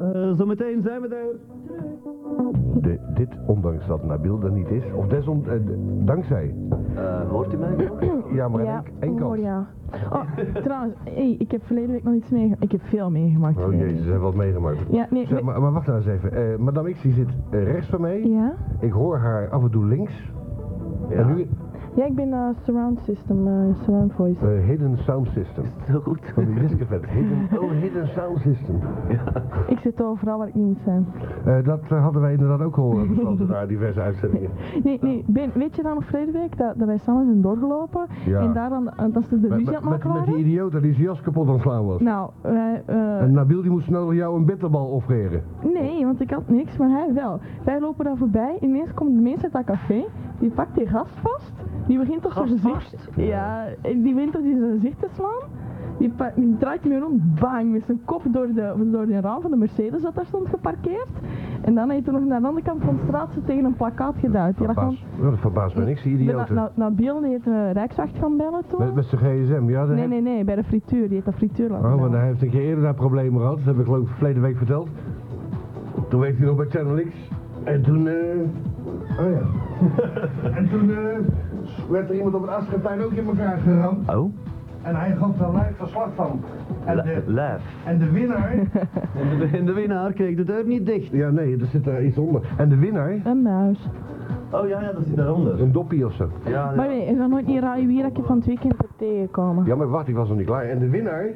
Eh, zometeen zijn we daar. De, dit, ondanks dat Nabil er niet is, of desond, eh, d- dankzij. Eh, hoort u mij nog? Ja, maar ja, enk- enkel. hoor, ja. Oh, trouwens, hey, ik heb verleden week nog iets meegemaakt. Ik heb veel meegemaakt. Oh jezus, ze hebben wat meegemaakt. Ja, nee, Zeg, nee. maar, maar wacht nou eens even. Eh, Madame X die zit eh, rechts van mij. Ja? Ik hoor haar af en toe links. Ja. En nu Ja, ik ben eh, surround system, eh, surround voice. eh, Hidden Sound System. Zo goed. Van die discovet. Hidden, oh, Hidden Sound System. Ik zit overal waar ik niet moet zijn. Eh, dat eh, hadden wij inderdaad ook al eh, besloten na diverse uitzendingen. Nee, Ah. nee, ben, weet je dan nog verleden week dat, dat wij samen zijn doorgelopen? Ja. En daar dan, eh, dat ze de Met, ruzie aan met, met, het maken met die waren? idioot dat die zijn jas kapot aan het slaan was. Nou, wij, eh, En Nabil die moest snel jou een bitterbal offeren. nee, want ik had niks, maar hij wel. Wij lopen daar voorbij, ineens komt de mens uit dat café, die pakt die gast vast, die begint toch zijn Gast gezicht... Ja, en die begint toch die zijn gezicht te slaan, die, pa- die draait me rond, bang, met zijn kop door de, door de raam van de Mercedes dat daar stond geparkeerd. En dan heeft hij nog naar de andere kant van de straat zo tegen een plakkaat geduwd. Die lag gewoon nou- Verbaas, ja, dat verbaast me niks, die idioten. Na, na, Nabil die heeft de Rijkswacht gaan bellen toen. Met, met zijn gsm, ja. dat nee, heb- nee, nee, bij de frituur. Die heeft dat frituur laten Oh, want bellen. hij heeft een keer eerder daar problemen gehad. Dat heb ik geloof ik verleden week verteld. Toen werkte hij nog bij Channel X. En toen, eh... Oh ja. en toen, eh... werd er iemand op het Ascherplein ook in elkaar geramd. Oh, En hij gaf daar live verslag van. En li- de, lijf. en de winnaar... En de, en de winnaar kreeg de deur niet dicht. ja, nee, er zit daar iets onder. En de winnaar... Een muis. Oh ja, ja dat zit daaronder. Een doppie of zo. Ja, Maar nee, ik ga nooit niet raaien wie dat je van het weekend hebt tegenkomen. Ja, maar wacht, ik was nog niet klaar. En de winnaar,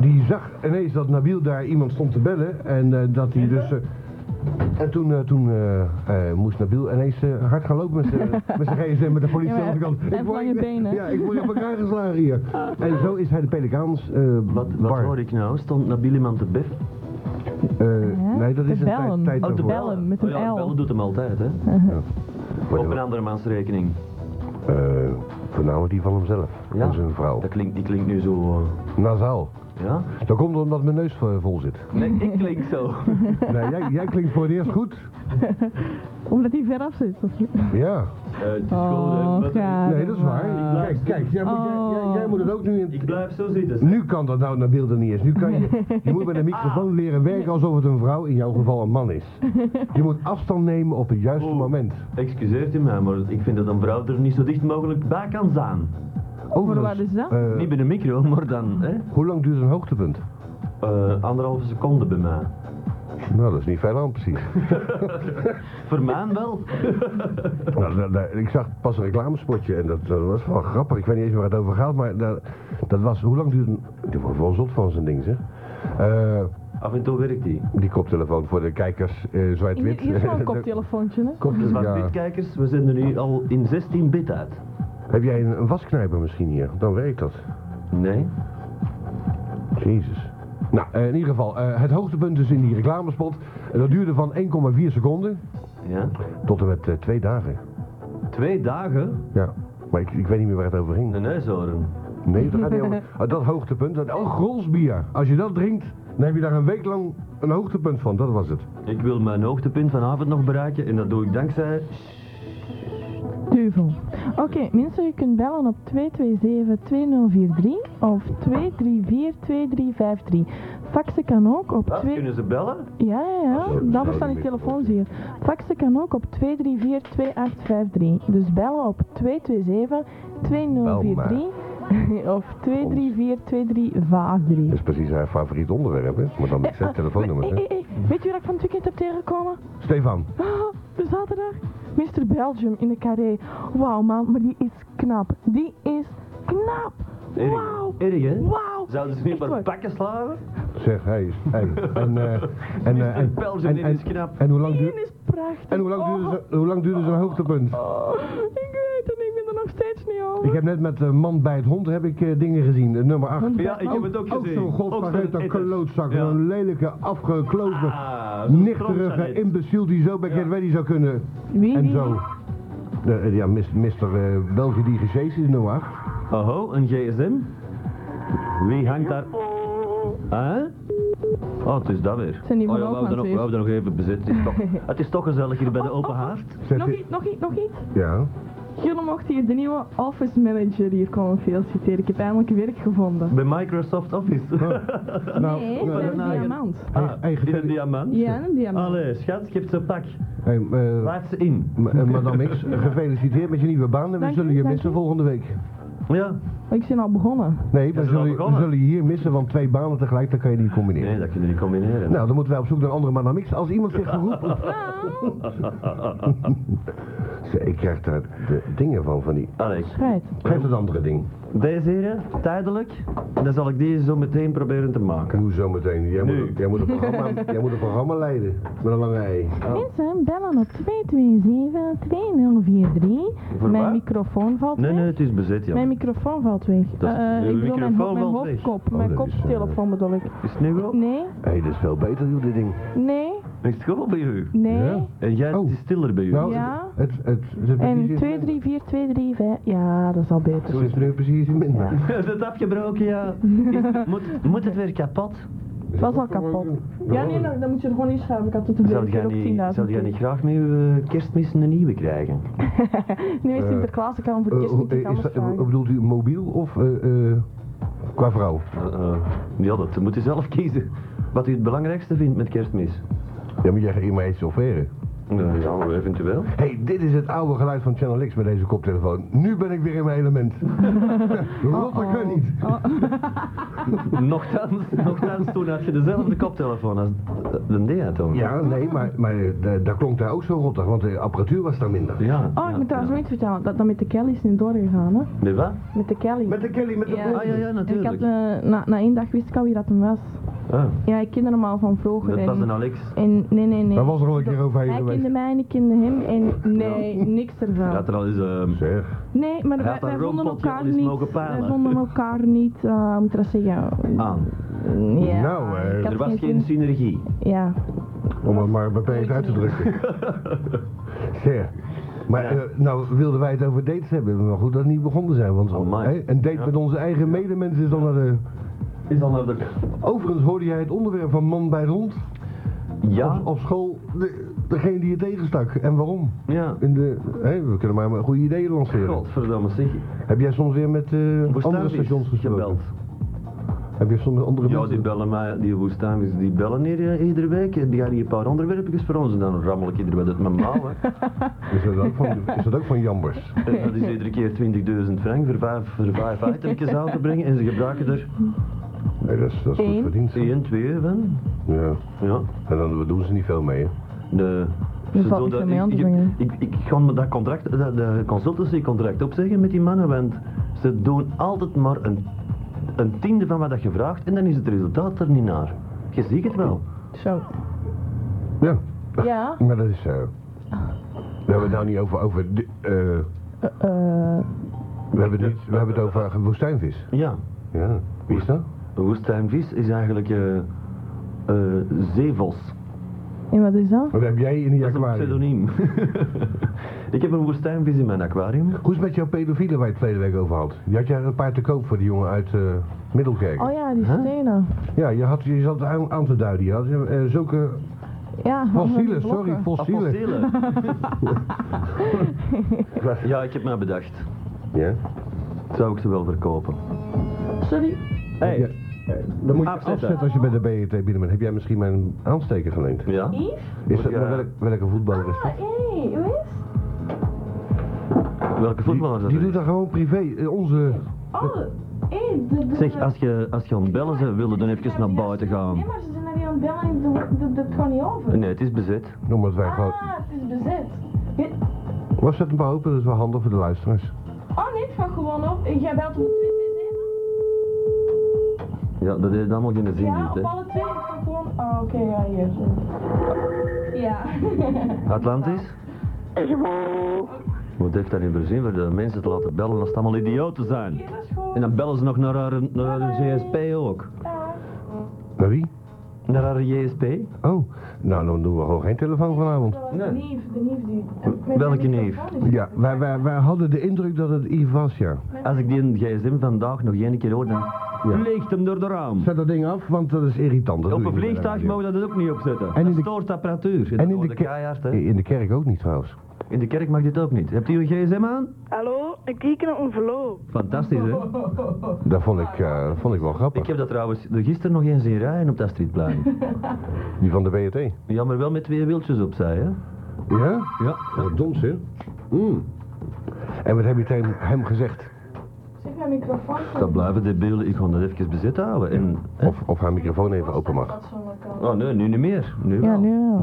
die zag ineens dat Nabil daar iemand stond te bellen. En eh, dat hij dus... eh, en toen, eh, toen eh, eh, moest Nabil ineens eh, hard gaan lopen met zijn met zijn gsm, met de politie Ja, maar aan de kant. hij heeft lange hier- benen. Ja, ik word op elkaar geslagen hier. En zo is hij de Pelikaans eh Wat, wat bar. hoor ik nou? Stond Nabil iemand te biffen? Eh, Hè? nee, dat Te is een tijd, bellen. tijd Oh, te daarvoor. bellen, met oh, een ja, L. bellen doet hem altijd, hè? Maar Op een dat- andere mans rekening. eh, voornamelijk die van hemzelf. Ja. En zijn vrouw. Dat klinkt, die klinkt nu zo... eh, Nasaal. ja? Dat komt omdat mijn neus eh, vol zit. Nee, ik klink zo. Eh, nee, jij, jij klinkt voor het eerst goed. Omdat hij veraf zit. of niet? Ja. Eh, het is Oh, gewoon, eh, wat- ga Nee, dat is dan waar. maar. Kijk, kijk, jij moet, jij, jij- jij moet het ook nu in... Ik blijf zo zitten. Nu kan dat nou naar beelden niet eens. Nu kan je, je moet met een microfoon leren werken alsof het een vrouw, in jouw geval een man is. Je moet afstand nemen op het juiste Oeh. moment. Excuseert u mij, maar ik vind dat een vrouw er niet zo dicht mogelijk bij kan staan. waar is dat? eh, Niet bij de micro, maar dan, hè? hoe lang duurt een hoogtepunt? Eh, anderhalve seconde bij mij. Nou, dat is niet veel aan precies. Voor mij wel. Nou, da- da- ik zag pas een reclamespotje en dat, dat was wel grappig. Ik weet niet eens waar het over gaat, maar dat, dat was... Hoe lang duurt een... Die wordt wel zot van zijn ding, zeg. Eh, Af en toe werkt die. die koptelefoon voor de kijkers, eh Hier, zwart-wit. hier is wel een koptelefoontje, hè? Dus Koptelefoon, wat ja. witkijkers, we zijn er nu al in 16 bit uit. Heb jij een, een wasknijper misschien hier? Dan werkt dat. Nee? Jezus. Nou, eh, in ieder geval, eh, het hoogtepunt is in die reclamespot. En dat duurde van 1,4 seconden Ja? tot en met eh, twee dagen. Twee dagen? Ja. Maar ik, ik weet niet meer waar het over De ging. neushoorn. Nee, dat gaat niet over. Ah, dat hoogtepunt, dat, oh, grolsbier. Als je dat drinkt, dan heb je daar een week lang een hoogtepunt van. Dat was het. Ik wil mijn hoogtepunt vanavond nog bereiken en dat doe ik dankzij... Duivel. Oké, mensen, je kunt bellen op 227-2043 of 234-2353. Faxen kan ook op... Wat? twee- Kunnen ze bellen? Ja, ja, Zo, ja. zo, Daarvoor staan zo. die telefoons hier. Faxen kan ook op 234-2853. Dus bellen op 227-2043 of 234-2353. Dat is precies haar favoriet onderwerp, hè? Maar dan met zijn telefoonnummers, Hey, hè? hey, hey, Weet je waar ik van het weekend heb tegengekomen? Stefan. Ah, de zaterdag. Mr. Belgium in de carré. Wauw man, maar die is knap. Die is knap. Erik. Wauw. Erik, hè? Wauw. Zouden ze nu Echt maar waar. pakken slaven? Zeg, hé. Hey, hey. En, eh, en, eh, en, Mr. Belgium, en, dit en- is knap. en hoe lang Die duurde... is prachtig. En hoe lang duurde Oh, ze- hoe lang duurde zo'n hoogtepunt? Ik weet het, ik ben er nog steeds niet over. Ik heb net met eh, Man bij het Hond heb ik, eh, dingen gezien. Eh, nummer 8. Ja, ik heb het ook Ook gezien. zo'n Ook zo'n godvergeten etter. klootzak. Ja. Een lelijke, afgekloosde, Ah, zo'n nichterige trotsanet. imbeciel die zo bij Get Ready zou kunnen. Wie, En wie, zo. wie? De, eh, ja, mis- Mr. eh, België die gezeest is nummer 8. Oho, een gsm? Wie hangt daar? Huh? Oh, het is dat weer. Zijn die oh, van ja, we ook houden aan nog, het we houden nog even bezet. Het is toch, het is toch gezellig hier bij de Oh, open oh, oh. haard. Zet Nog dit- iets, nog iets, nog iets. Ja. Jullie mochten hier de nieuwe office manager hier komen feliciteren. Ik heb eindelijk werk gevonden. Bij Microsoft Office. Oh, Nou, nou, nee, ik ben een nou, diamant. Ah, hey, in gefeliciteerd. een diamant? Ja, een diamant. Allee, schat, je hebt ze pak. hey, eh, Laat ze in. m- eh, Madame X, gefeliciteerd met je nieuwe baan en we Dank zullen u, je dank missen u. volgende week. Ja. Maar Oh, ik ben al begonnen. Nee, we is al zullen, we begonnen. zullen je hier missen, want twee banen tegelijk, dan kan je niet combineren. Nee, dat kun je niet combineren. Nou, dan moeten wij op zoek naar een andere Madame X. Als iemand zich geroepen... Nou, Ik krijg daar de dingen van, van die... Allee, schijt. Geef het andere ding. deze heren, tijdelijk, dan zal ik die zo meteen proberen te maken. Hoe zo meteen? Jij moet, Nu. het- jij, moet het programma, jij moet het programma leiden. Met een lange ei. Oh. Mensen, bellen op 227-2043. Voor Mijn wat? microfoon valt Nee, weg. nee, het is bezet, ja. Mijn microfoon valt weg. Dat is- Eh, uw ik bedoel, mijn, microfoon ho- mijn valt weg. hoofdkop. Oh, mijn dat is, eh, koptelefoon bedoel ik. Is het nu wel? Nee, Hé, hey, dit is veel beter, joh, dit ding. nee, Is het goed bij u? nee. Ja. En jij, Oh. het is stiller bij u. Nou, Ja. het, het, het, het is En precies- 234, 235. Ja, dat is al beter. Het is nu precies minder. dat afgebroken, ja. Is- moet, moet het weer kapot? Het was al kapot. Ja, nee, dan, dan moet je er gewoon inschuiven. Ik had het op de Zou deur Oh. jij op 10.000. niet, zou jij niet graag met uw eh, kerstmis een nieuwe krijgen? Nu is Sinterklaas, ik kan hem voor Eh, kerst hoe- niet eh, iets is anders dat- vragen. eh, bedoelt u mobiel of eh, eh, qua vrouw? Eh, eh, ja, dat moet u zelf kiezen. Wat u het belangrijkste vindt met kerstmis. Ja, maar jij gaat hier maar eens chaufferen. Eh, ja, maar eventueel. Hé, hey, dit is het oude geluid van Channel X met deze koptelefoon. Nu ben ik weer in mijn element. Rotter Oh, kan niet. Nochtans, nochtans, toen had je dezelfde koptelefoon als de D had toen. Ja, nee, maar, maar eh, daar klonk daar ook zo rottig, want de apparatuur was daar minder. Ja. Oh, ik moet trouwens nog iets vertellen. Dat, dat met de Kelly is niet doorgegaan, hè? Met wat? Met de Kelly. Met de Kelly, met de Ja. ja. Ah, ja, ja, En ik had, natuurlijk. eh, na, na één dag wist ik al wie dat hem was. Ah, Ja, ik kende hem al van vroeger. dat en, was een Alex. en nee, nee, nee. Daar was er al een keer overheen Hij geweest. kende mij en ik kende hem en nee, niks ervan. Hij had er al eens... ehm, Zeg, Nee, Hij maar wij, had dat wij vonden roompotje al elkaar eens niet. mogen peilen. Wij vonden elkaar niet, eh, hoe moet ik dat zeggen? aan. Ja, Nou, eh, ik had Er was geen zin- synergie. Ja. om het maar beperkt uit te drukken. zeg, maar eh, nou wilden wij het over dates hebben, maar goed dat we niet begonnen zijn. Want Oh, my. hè, een date Ja. met onze eigen medemensen is dan naar de... Is al naar de... Overigens hoorde jij het onderwerp van man bij de hond Ja, op, op school, de, degene die je tegenstak. En waarom? ja. In de, hè, we kunnen maar maar goede ideeën lanceren. Godverdomme, zeg. Heb jij soms weer met eh, andere Woestijnvis stations gesproken? gebeld. Heb je soms met andere Ja, mensen- die bellen mij, die woestijnvis, die bellen hier eh, iedere week. En die gaan hier een paar onderwerpjes voor ons. En dan rammel ik iedere week uit mijn mouw. hè. Is dat ook van, is dat ook van Jambers? En dat is iedere keer 20.000 frank voor vijf, voor vijf itemjes aan te brengen. En ze gebruiken er Nee, dat is, dat is goed Eén. verdiend. één, twee van. Ja. Ja. En dan doen ze niet veel mee, hè? De, Er ze valt doen niet veel mee aan te ik, brengen. ik, ik, ik ga me dat contract, dat, de consultancycontract opzeggen met die mannen, want ze doen altijd maar een, een tiende van wat dat je vraagt en dan is het resultaat er niet naar. Je ziet het wel. Zo. Ja, Ja. maar dat is zo. We hebben het nou niet over... over de- eh, Eh, we, hebben het niet, we hebben het over woestijnvis. Ja, Ja. Wie is dat? een woestijnvis is eigenlijk eh eh, zeevos. en wat is dat? Wat heb jij in die Dat is een aquarium? pseudoniem. ik heb een woestijnvis in mijn aquarium. Hoe is het met jouw pedofielen waar je het verleden week over had? Je had jij een paar te koop voor die jongen uit eh, Middelkerk. Oh ja, die Huh? stenen. Ja, je, had, je zat aan, aan te duiden. Je had eh, zulke Ja, fossielen, sorry, fossielen. Fossielen. ja, ik heb mij bedacht. Ja. Zou ik ze wel verkopen? Sorry. Hey. Ja. Dan moet je Afzetten. afzetten, als je bij de BET binnen bent. Heb jij misschien mijn aansteker geleend? Ja? Is dat, Ja. maar welk- welke voetballer is dat? Ah, Hé, hoe is het? Welke Die, voetballer die dat doet dat gewoon privé. Eh, Onze... Oh, hé, de, de- Zeg, als je, als je aan het bellen ze willen dan even naar buiten Nee, gaan. maar ze zijn daar hier aan het bellen en dat- dat- dat gaat niet over. Nee, het is bezet. Omdat wij gewoon... Ah, het is bezet. Je- Was het een paar open? Dat is wel handig voor de luisteraars. Oh nee, het gaat gewoon op. Jij belt op 227. Ja, dat heeft allemaal geen zin Ja, niet, op hè. alle twee. Het gaat gewoon... Oh, oké, ja, hier. Ja. Atlantis? Wat heeft dat in voor zin voor de mensen te laten bellen als het allemaal idioten zijn? Oké, dat is goed. En dan bellen ze nog naar haar, naar haar GSP ook. Dag. Naar wie? Naar haar JSP? Oh, nou dan doen we gewoon geen telefoon vanavond. Dat was de Nee. neef, de neef die... Welke neef? Ja, wij, wij, wij hadden de indruk dat het Yves was, ja. Als ik die gsm vandaag nog één keer hoor, dan vliegt hem door de raam. Zet dat ding af, want dat is irritant. Dat Op doe een je niet bij de vliegtuig radio. mogen we dat ook niet opzetten. in Dat de- stoort apparatuur. en En in in de de ke- keihard, hè. In de kerk ook niet trouwens. In de kerk mag dit ook niet. Hebt u uw gsm aan? Hallo, ik kijk naar een verloop. Fantastisch, hè? Dat vond ik, eh, dat vond ik wel grappig. Ik heb dat trouwens gisteren nog eens zien rijden op dat streetplein. Die van de BRT. Jammer wel met twee wieltjes opzij, hè? Ja? Ja. Wat dom zeg. Mm. En wat heb je tegen hem gezegd? Zeg mijn microfoon. Dat blijven de beelden. Ik ga dat even bezet houden. En, hè? Of, of haar microfoon even open mag. Oh, nee, nu niet meer. Nu Ja, wel. nu wel.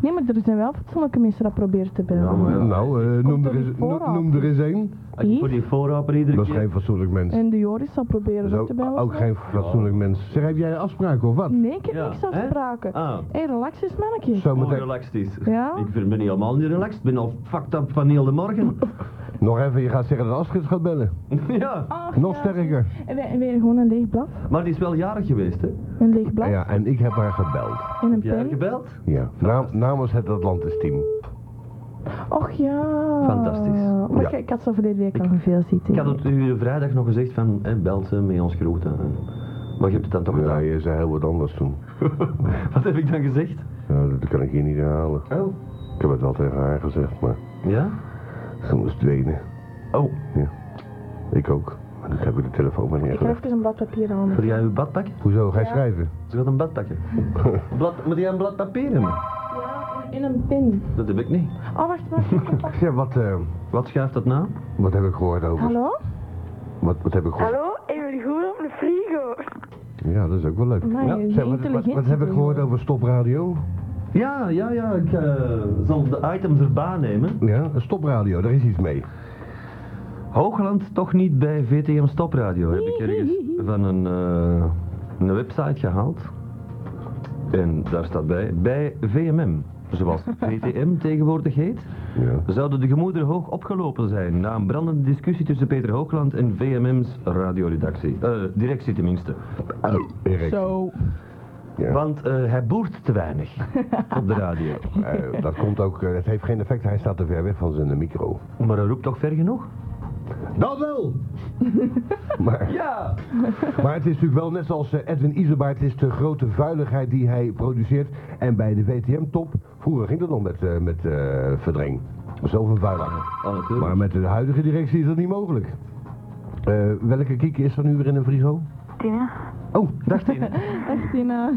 nee, maar er zijn wel fatsoenlijke mensen dat proberen te bellen. Ja, maar ja. Nou, eh, noem, Komt er er eens, niet voor no- aan. noem er eens een. Als je voor die voorraper iedere Dat is keer... geen fatsoenlijk mens. En de Joris zal Dat proberen dat te is bellen. ook, ook geen fatsoenlijk mens. Zeg, heb jij afspraken of wat? Nee, ik heb Ja, niks hè? afgesproken. Hé, Ah, relax eens, mannetje. Zo hoe meteen. relaxed is. Ja? Ik ben niet helemaal niet relaxed. Ik ben al fucked up van heel de morgen. Nog even, je gaat zeggen dat Astrid gaat bellen. ja. Ach, Nog ja. sterker. En weer, en weer gewoon een leeg blad. Maar die is wel jarig geweest, hè? Een leeg blad Ja, en ik heb haar gebeld. en een Heb jij haar pen. gebeld? Ja, na- namens het Atlantis team. Och ja. Fantastisch. Maar Ja. ik, ik had zo verleden week al veel zitten. Ik had het u vrijdag nog gezegd van, hè, belt ze met ons groeten. Maar je hebt het dan toch Ja, gedaan? je zei heel wat anders toen. Wat heb ik dan gezegd? Nou, dat kan ik hier niet herhalen. Oh. Ik heb het wel tegen haar gezegd, maar Ja? ze moest wenen. Oh, Ik ook. Maar dat heb ik de telefoon maar Ik ga neergelegd. even een blad papier aan. wil jij uw bad pakken? Hoezo, ga je Ja. schrijven? Ze gaat een bad pakken. Blad, moet jij een blad papier hebben? Ja, en een pen. Dat heb ik niet. Oh, wacht, wacht. wacht, wacht. Ja, wat, eh, Wat schuift dat nou? wat heb ik gehoord over? Hallo? Wat, wat heb ik gehoord? Hallo, ik ben goed op de frigo. Ja, dat is ook wel leuk. Amai, Ja. die Zeg, wat, wat, intelligentie wat heb ik van gehoord jou. over stopradio? Ja, ja, ja, ik eh, zal de items erbij nemen. Ja, een stopradio, daar is iets mee. Hoogland toch niet bij VTM Stopradio. Heb ik ergens van een, eh, een website gehaald. En daar staat bij, bij VMM, zoals VTM tegenwoordig heet, Ja. zouden de gemoederen hoog opgelopen zijn na een brandende discussie tussen Peter Hoogland en VMM's radioredactie. Eh, directie tenminste. Erik, Oh. Zo. Ja. Want eh, hij boert te weinig op de radio. eh, dat komt ook, eh, het heeft geen effect, hij staat te ver weg van zijn eh, micro. Maar hij roept toch ver genoeg? Dat wel! maar, Ja! maar het is natuurlijk wel net zoals eh, Edwin Iserbaard, het is de grote vuiligheid die hij produceert. En bij de VTM-top, vroeger ging dat nog met, eh, met eh, verdreng. Zoveel vuiligheid. Oh, natuurlijk. Maar met de huidige directie is dat niet mogelijk. Eh, welke kiek is er nu weer in een frigo? Tina, Oh, Dacht hij, Echt, Tina.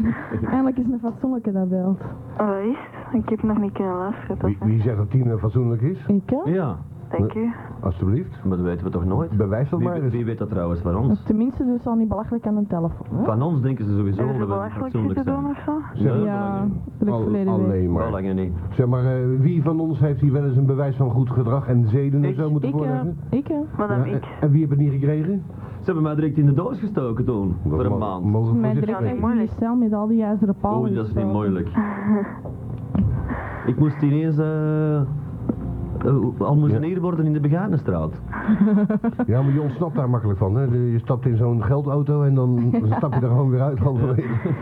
Eindelijk is een fatsoenlijke dat belt. wat is het? Oh, Ik heb nog niet kunnen luisteren. tot wie, nu. wie zegt dat Tina fatsoenlijk is? Ik, hè? Ja, Dank u. Alsjeblieft. maar dat weten we toch nooit? Bewijs dat Wie, maar we- eens. wie weet dat trouwens van ons? Tenminste, dus al niet belachelijk aan een telefoon. hè? Van ons denken ze sowieso Hebben ze dat we belachelijk zitten fatsoenlijk zijn. doen of zo? Zeg, Nee, Ja, belangen. druk al- verleden week. alleen maar. Belangen niet. Zeg maar, eh, wie van ons heeft hier wel eens een bewijs van goed gedrag en zeden en Ik- zo moeten Ik, eh, voorleggen? ik, hè? Maar Ja, eh, dan en, nou, ik. en wie heeft het niet gekregen? Ze hebben mij direct in de doos gestoken toen, voor een mo- maand. Mogen we Mijn voorzichtig direct niet echt in die moeilijk. cel met al die ijzeren palen. Oei, dat is niet zo. moeilijk. Ik moest ineens eh eh, almoezeneerd worden in de Begaanenstraat. zijn? Ja, maar je ontsnapt daar makkelijk van. Hè? De- Je stapt in zo'n geldauto en dan stap je er gewoon weer uit halverwege.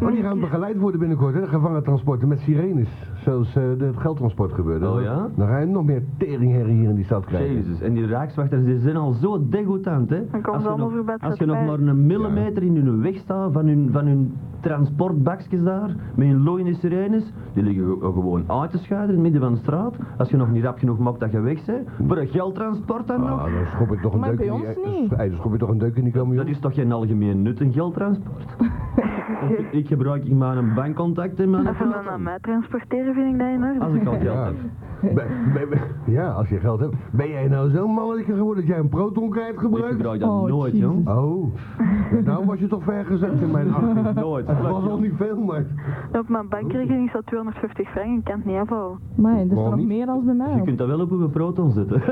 Maar die gaan begeleid worden binnenkort, hè? de gevangentransporten met sirenes. Zoals eh, de- het geldtransport gebeurde. Oh, ja? Dan ga je nog meer teringherrie hier in die stad krijgen. Jezus, en die raakswachters die zijn al zo degoutant, hè. komen ze Als je allemaal nog- voor bij het Als je nog maar zetpij. een millimeter in hun weg staat van hun, van hun transportbakjes daar, met hun looiende sirenes, die liggen ge- eh, gewoon uit te schuiven in het midden van de straat. Als je nog niet rap genoeg maakt dat je weg bent, voor een geldtransport dan nog. Ah, dan schop ik toch een Maar deuk bij in die... ons niet. eh, dan schop je toch een deuk in die Dat camion? is toch geen algemeen nut, een geldtransport? ik, ik gebruik in mijn bankcontact en mijn Als ze dan naar mij transporteren, vind ik dat in orde. Als ik al geld Ja. heb. Ben- ben- ben- ja, als je geld hebt. Ben jij nou zo'n mannelijke geworden dat jij een protonkaart Ik gebruikt? gebruik dat Oh, nooit, Jesus. jong. Oh, nou was je toch ver gezakt in mijn 18. Nooit. Dat was al niet veel, maar... Op mijn bankrekening staat 250 frank, ik kan het niet afhouden. Maar dat is Waarom nog niet? meer dan bij mij. Je hoor. kunt dat wel op uw proton zetten.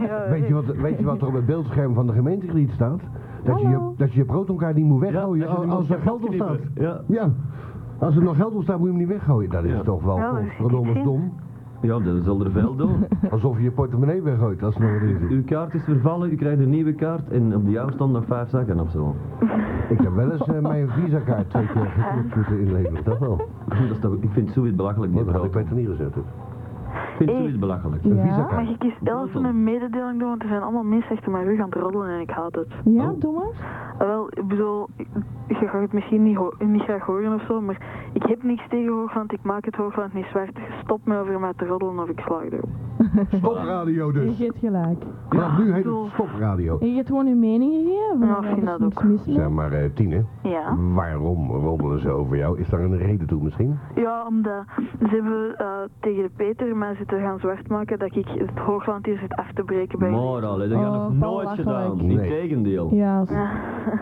Ja, Weet je, wat, weet je wat er op het beeldscherm van de gemeentekrediet staat? Dat je, je, Hallo. dat je je protonkaart niet moet Ja, weggooien dat je al- die als er moet geld op staat. knijpen. Ja. Ja. Als er nog geld op staat, moet je hem niet weggooien. Dat is Ja. toch wel Ja, dat is godverdomme niet dom. ja, dat zal er veel doen. Alsof je je portemonnee weggooit, als het nog wat in zit. Uw kaart is vervallen, u krijgt een nieuwe kaart en op de jouw stond nog vijf zakken of zo. Ik heb wel eens eh, mijn visakaart twee keer geknipt moeten inleveren, dat wel. Dat is toch, ik vind het zoiets belachelijk. die Dat had ik proton. bij tenier gezet. Vindt u het belachelijk? Ja. dus. visakaart. Maar je kiest elf dan? een mededeling doen, want er zijn allemaal mensen achter mijn rug aan het roddelen en ik haat het. Ja, Oh. doe maar. Ah, Wel, ik bedoel, je gaat het misschien niet, ho- niet graag horen of zo, maar ik heb niks tegen Hoogland, ik maak het Hoogland niet zwart. Stop me over mij te roddelen of ik sla je erop. Stopradio Je dus. geeft gelijk. Vanaf nu heet bedoel- het stopradio. En je hebt gewoon je mening gegeven. maar Ja, ik daar vind is dat niks ook. mis mee. Zeg maar, eh, Tine, Ja? waarom roddelen ze over jou? Is daar een reden toe misschien? Ja, omdat ze hebben eh, tegen de Peter mij zitten gaan zwart maken dat ik het Hoogland hier zit af te breken bij jullie. Moral, hè, dat heb ik Oh, nog Paul nooit lacht gedaan. gelijk. Nee. Integendeel. Ja, s-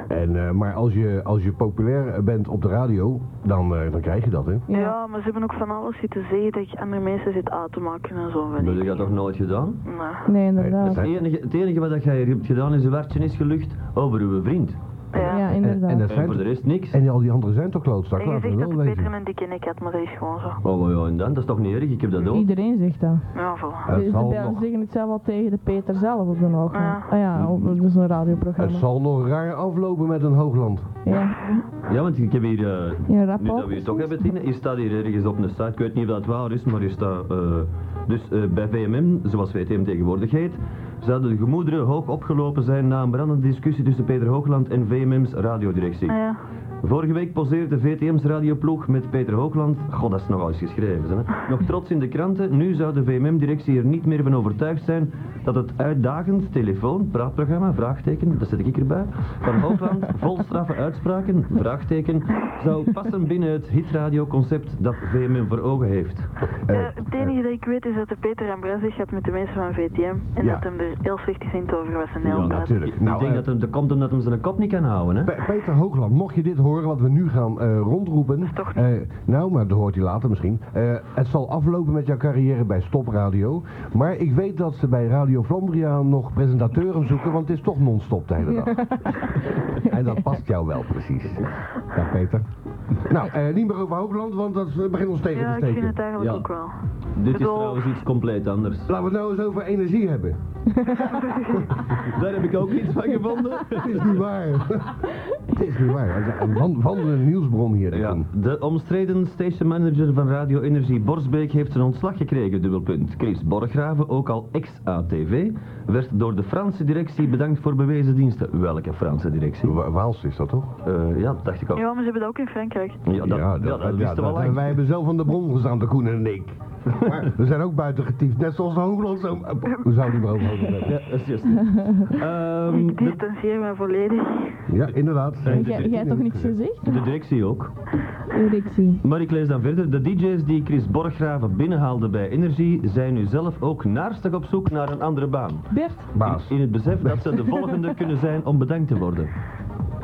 En, eh, maar als je, als je populair eh, bent op de radio, dan, eh, dan krijg je dat, hè? Ja. ja. maar ze hebben ook van alles zitten zeggen dat je andere mensen zit aan te maken en zo. Dat Vind heb ik. je toch nooit gedaan? Nee. Nee, Nee, inderdaad. dat Het enige, het enige wat jij hier hebt gedaan is een wartje is gelucht over uw vriend. Ja. Ja, En, en, inderdaad. dat En zijn, voor de rest niks. en al die anderen zijn toch klootzak? En je Laten zegt we dat wel ik Peter wezen. een dikke nek had, maar dat is gewoon zo. Oh, ja, en dan? Dat is toch niet erg? Ik heb dat ook. Iedereen zegt dat. Ja, voilà. Het Ze- zal ze nog- zeggen het zelf al tegen de Peter zelf op de oog. Ja. Ah ja, op, dat is een Het radioprogramma. zal nog raar aflopen met een hoogland. Ja, Ja, want ik heb hier... eh, in rap nu dat we hier toch hebben, Tine, hier staat hier ergens op een site, ik weet niet of dat waar is, maar hier staat... eh, dus eh, bij VMM, zoals VTM tegenwoordig heet, zouden de gemoederen hoog opgelopen zijn na een brandende discussie tussen Peter Hoogland en VMM's radiodirectie. Nou Ja. Vorige week poseerde VTM's radioploeg met Peter Hoogland. God, dat is nogal eens geschreven. Hè? Nog trots in de kranten. Nu zou de VMM-directie er niet meer van overtuigd zijn dat het uitdagend telefoon, praatprogramma, vraagteken, dat zet ik erbij, van Hoogland vol straffe uitspraken, vraagteken, zou passen binnen het hitradioconcept dat VMM voor ogen heeft. Eh, het enige dat ik weet is dat de Peter en Bras zich had met de mensen van VTM. En Ja. dat hem er heel slecht gezind over was en heel Ja, praat. natuurlijk. ik Nou, denk eh, dat hem dat komt omdat hem zijn kop niet kan houden. Hè? Pe- Peter Hoogland, mocht je dit horen wat we nu gaan eh, rondroepen. Toch eh, nou, maar dat hoort hij later misschien. Eh, het zal aflopen met jouw carrière bij Stopradio. Maar ik weet dat ze bij Radio Flandria nog presentatoren zoeken, want het is toch non-stop de hele dag. en dat past jou wel precies. Ja, Peter. Nou, eh, niet meer over Hoogland, want dat eh, begint ons tegen Ja, te ik steken. vind het eigenlijk Ja. ook wel. Dit is bedoel- trouwens iets compleet anders. Laten we het nou eens over energie hebben. Daar heb ik ook niets van gevonden. Het is niet waar. het is niet waar. Een wan- wandelende nieuwsbron hier. Ja, Jeroen. de omstreden stationmanager van Radio Energie Borsbeek heeft zijn ontslag gekregen, dubbelpunt. Chris Borgraven, ook al ex-ATV, werd door de Franse directie bedankt voor bewezen diensten. Welke Franse directie? Wa- Waals is dat toch? Eh, ja, dat dacht ik ook. Ja, maar ze hebben dat ook in Frankrijk. Ja, dat, ja, dat ja, wisten we al dat- lang. Wij hebben zelf aan de bron gestaan, de Koen en ik. Maar we zijn ook buiten getiefd, net zoals de Hoogland zo. We zouden niet meer over Hoogland hebben. Ja, dat is juist. Ehm, Ik de, distancieer me volledig. Ja, inderdaad. Jij jij hebt toch niks gezegd? de directie ook. Erectie. Maar ik lees dan verder. De DJ's die Chris Borgraven binnenhaalde bij Energie zijn nu zelf ook naarstig op zoek naar een andere baan. Bert, Baas. In het besef dat ze de volgende kunnen zijn om bedankt te worden.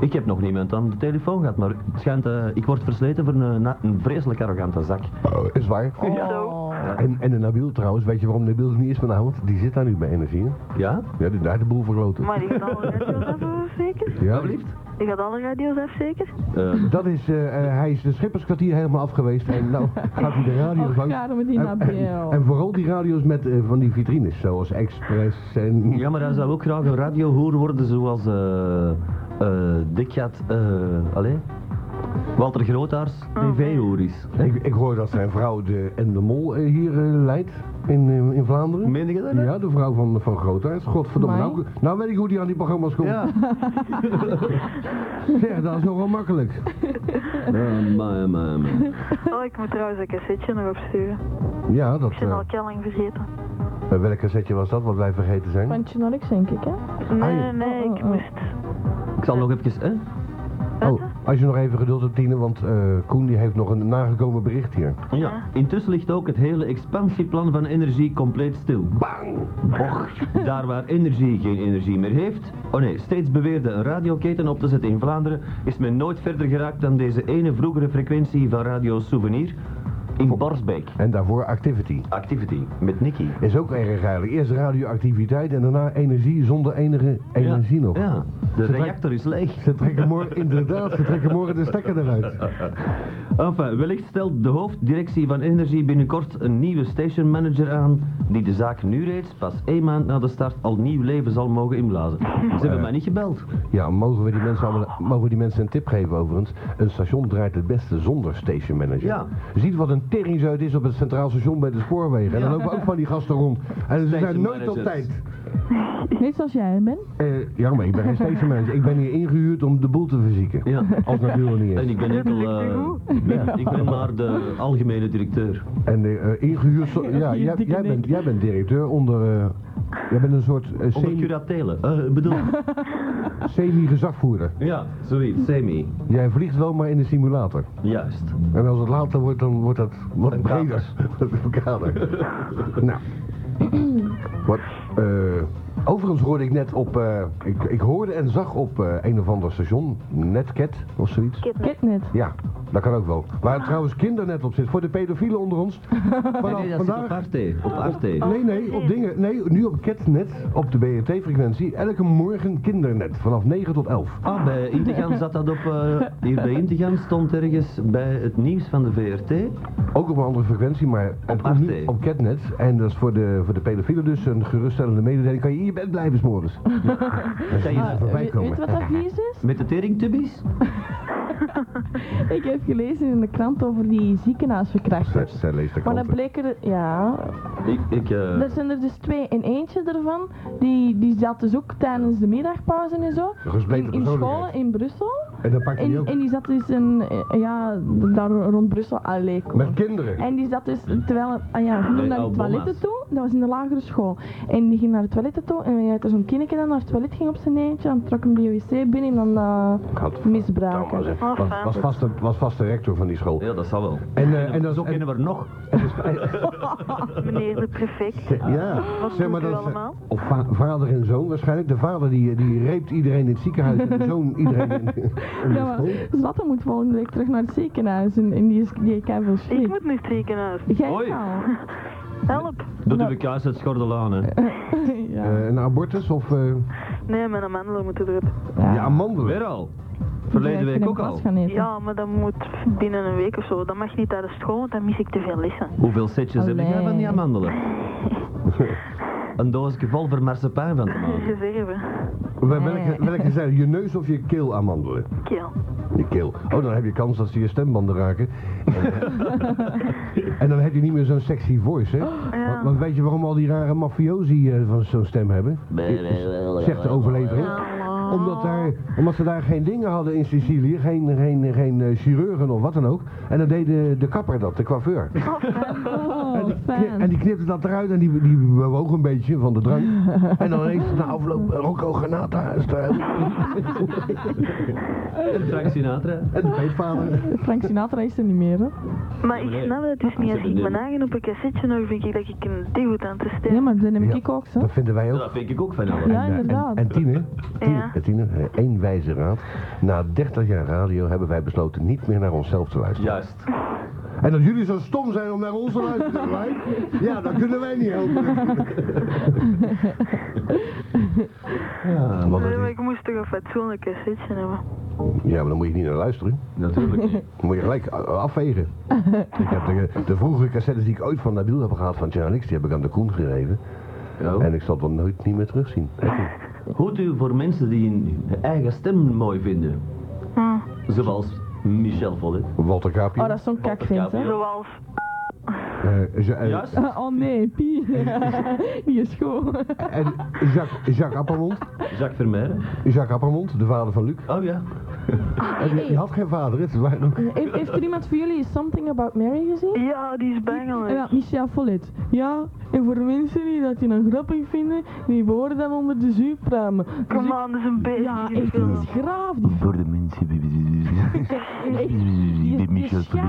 Ik heb nog niemand aan de telefoon gehad, maar het schijnt, eh, ik word versleten voor een, na- een vreselijk arrogante zak. Oh, is waar. Zo. Oh, En, en de Nabil trouwens, weet je waarom Nabil er niet is vanavond? Die zit daar nu bij Energie. hè? Ja? Ja, die daar de boel vergroten. Maar die gaat alle radio's af, zeker? Ja, Alsjeblieft. Die gaat alle radio's af, zeker? Eh, dat is, eh, eh, hij is de Schipperskwartier helemaal af geweest en nou gaat hij de radio's oh, langs. Karel met die En- En Nabil. vooral die radio's met eh, van die vitrines, zoals Express en... ja, maar hij zou ook graag een radiohoer worden zoals eh eh Dikjat, eh, allee, Walter Grootaars tv-hoer is. Ik, ik hoor dat zijn vrouw de en de Mol eh, hier eh, leidt in, eh, in Vlaanderen. Meen je dat? Ja, de vrouw van, van Groothuis. Godverdomme, Amai. nou, nou weet ik hoe die aan die programma's komt. Ja. Zeg, dat is nogal makkelijk. Eh, maar, maar, maar. Oh, ik moet trouwens een cassetje nog opsturen. Ja, dat... Ik ben eh, al kelling vergeten. eh, welk cassetje was dat wat wij vergeten zijn? Pantje naar ik, denk ik, hè? Nee, Ah, ja. nee, nee, Oh, oh, ik oh. moest. Ik zal nog even... eh, Oh, als je nog even geduld hebt, Tine, want eh, Koen die heeft nog een nagekomen bericht hier. Oh Ja, intussen ligt ook het hele expansieplan van energie compleet stil. Bang! Boch, daar waar energie geen energie meer heeft. Oh nee, steeds beweerde een radioketen op te zetten in Vlaanderen, is men nooit verder geraakt dan deze ene vroegere frequentie van Radio Souvenir in Borsbeek. En daarvoor Activity. Activity met Nicky. Is ook erg eigenlijk. Eerst radioactiviteit en daarna energie zonder enige energie nog. Ja, de Ze reactor is leeg. Ze trekken morgen, inderdaad, ze trekken morgen de stekker eruit. Enfin, wellicht stelt de hoofddirectie van Energie binnenkort een nieuwe stationmanager aan, die de zaak nu reeds pas één maand na de start al nieuw leven zal mogen inblazen. Ze hebben mij niet gebeld. Ja, mogen we die mensen, allemaal, mogen we die mensen een tip geven overigens? Een station draait het beste zonder station manager. Ja. Ziet wat een tering zo het is op het Centraal Station bij de spoorwegen. En dan lopen ook van die gasten rond. En ze zijn nooit op managers. tijd. Net zoals jij hè, Ben. Eh, ja, maar ik ben geen stageman. Ik ben hier ingehuurd om de boel te verzieken. Ja. Als natuurlijk niet Oh, En is. ik ben enkel... eh, ik, ben, ik ben maar de algemene directeur. En eh, ingehuurd... zo- ja, jij, jij, bent, jij bent directeur onder... eh, jij bent een soort eh, Onder semi- curatele. Eh, bedoel, semi-gezagvoerder. ja, zoiets. Semi. Jij vliegt wel maar in de simulator. Juist. En als het later wordt, dan wordt dat wat Een breder. Een kader. nou. Wat, eh, overigens hoorde ik net op... eh, ik, ik hoorde en zag op eh, een of ander station, Netcat of zoiets. Kidnet. Ja, dat kan ook wel. Waar trouwens kindernet op zit, voor de pedofielen onder ons. Vanaf Ah. Nee, dat zit op Oh, vandaag... Oh. Arte. Op Arte. Nee, nee, op dingen. Nee, nu op Catnet, op de BRT-frequentie. Elke morgen kindernet, vanaf 9 tot 11. Ah, bij Integan zat dat op... eh, hier bij Integan stond ergens bij het nieuws van de VRT. Ook op een andere frequentie, maar het komt nu RT. op Catnet. En dat is voor de, voor de pedofielen dus een geruststellende mededeling. Kan je in je bed blijven s'morgens? Kan je voorbij weet komen. weet wat dat vies is? met de teringtubbies? Ik heb gelezen in de krant over die Zij, ziekenhuisverkrachters. zij leest de Maar dan kranten. bleken er, ja, Ik, ik, eh, er zijn er dus twee in eentje ervan, die, die zat dus ook tijdens de middagpauze en zo, in, Gespleten in scholen persoonlijkheid. in Brussel, En dan pak je die en, ook. en die zat dus in, eh, ja, daar rond Brussel, allee, kom. Met kinderen. En die zat dus, Hm. terwijl, ah ja, die Bij ging naar de Obama's. toiletten toe, dat was in de lagere school. En die ging naar de toiletten toe en hij had er zo'n kindje dat naar het toilet ging op zijn eentje, dan trok hem de wc binnen en dan eh, Gadverdamme, misbruiken. zeg. Oh, Was, fijn. was, vast de, was vast de rector van die school. ja, dat zal wel. En, eh, en dat is Zo ook kennen we er nog. Meneer de prefect. Ja, Wat zeg maar doet u dat eh, allemaal? Of va- vader en zoon waarschijnlijk. De vader die, die reept iedereen in het ziekenhuis en de zoon iedereen in, in de Ja, maar school. Zlatan moet volgende week terug naar het ziekenhuis en, en die, is, die kan veel Ik schrik. nou. moet naar het ziekenhuis. Jij Oei. wel. Help. Dat doe ik juist uit Schordelaan, hè. ja. Eh, een abortus of... eh, Nee, mijn mandelen moeten eruit. ja. Weer amandelen. al. Verleden Jij week kan ook een al. pas gaan eten. Ja, maar dat moet binnen een week of zo. Dat mag niet tijdens school, want dan mis ik te veel lessen. Hoeveel setjes heb jij van die Allee. amandelen? Een doosje vol vermarsepijn van te Ah. maken. Reserve. Wel- Welke, welke zijn je neus of je keel amandelen? Keel. Je keel. Oh, dan heb je kans dat ze je stembanden raken. eh, en dan heb je niet meer zo'n sexy voice, hè? Want, want weet je waarom al die rare mafiosi eh, van zo'n stem hebben? Zegt de overlevering. Omdat, daar, omdat ze daar geen dingen hadden in Sicilië, geen, geen, geen eh, chirurgen of wat dan ook. En dan deed de, de kapper dat, de coiffeur. Oh, Kni- En fijn. die knipte dat eruit en die, die bewoog een beetje van de drank. en dan ineens na afloop eh, Rocco Granata is er. Frank Sinatra. En de peetvader. Frank Sinatra is er niet meer, hè? Maar ik snap dat dus niet. Als ik mijn eigen op een cassetje hoor, vind ik dat ik een degoed aan te steken. Nee, maar dat neem Ja. ik ook, hè? Dat vinden wij Ja, ook. dat vind ik ook van alles. Ja, Ja, En, inderdaad. en Tine, Tine, Ja. eh, Tine, eh, één wijze raad. Na 30 jaar radio hebben wij besloten niet meer naar onszelf te luisteren. Juist. En dat jullie zo stom zijn om naar ons te luisteren, wij, ja, dan kunnen wij niet helpen. Ja, Want Nee, het maar is- ik moest toch een fatsoenlijk cassetje hebben. ja, maar dan moet je niet naar luisteren. natuurlijk niet. Dan moet je gelijk eh, afvegen. Ik heb de, de vroege cassettes die ik ooit van Nabil heb gehad van Charlix, die heb ik aan de Koen gegeven. Ja. En ik zal dat nooit niet meer terugzien. Goed u voor mensen die hun eigen stem mooi vinden. Ah. Zoals Michel Vollet. Walter Kaapje. Oh, dat is zo'n kakvent, hè? Zoals. eh, Ja- eh, Juist. Oh nee, Pie. Die is goed. en Jacques, Jacques Appermond. Jacques Vermeijden. Jacques Appermond, de vader van Luc. Oh ja. En die, die had geen vader, het waren ook Heeft, heeft er iemand van jullie Something About Mary gezien? Ja, die is bangelijk. Ja, Michel Follet. Ja, en voor mensen die dat die een grappig vinden, die behoren dan onder de zuurpruimen. Dus Kom ik- aan, dat is een beetje. ja, echt een graaf. Die Voor de mensen. Echt, die,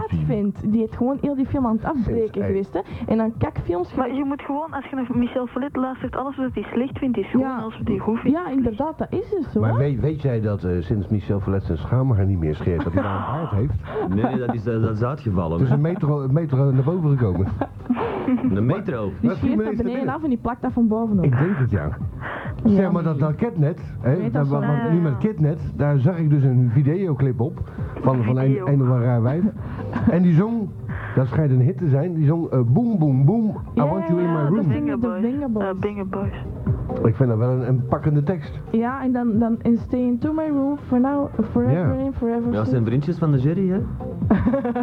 die, vindt, die heeft gewoon heel die film aan het afbreken Hey. geweest, hè. En dan kakfilms... Maar je moet gewoon, als je naar Michel Follet luistert, alles wat hij slecht vindt is goed, Ja. als we die goed vinden. Ja, inderdaad, dat is dus zo, Maar hè. weet, weet jij dat eh, sinds Michel Verlet zijn schaamhaar niet meer scheert, dat hij daar een baard heeft? Nee, nee, dat is, eh, dat is uitgevallen. Het is een metro, een metro naar boven gekomen. De metro. Die dat is die scheert naar meeste beneden dingen. af en die plakt dat van bovenop. Ik denk het ja. Ja, Zeg maar dat, dat Catnet, hè, Weet dat, dat wat, zo. wat nu met Catnet, daar zag ik dus een videoclip op van, van een, Video. een of een raar wijf. En die zong Dat schijnt een hit te zijn. Die zong eh, Boom Boom Boom, I Want You In My Ja, dat Room. is- de Bingaboys. Eh, Bingaboys. Ik vind dat wel een, een pakkende tekst. Ja, en dan, dan in Stay Into My Room, for now, forever Ja. in, forever Dat zijn since. vriendjes van de jury, hè?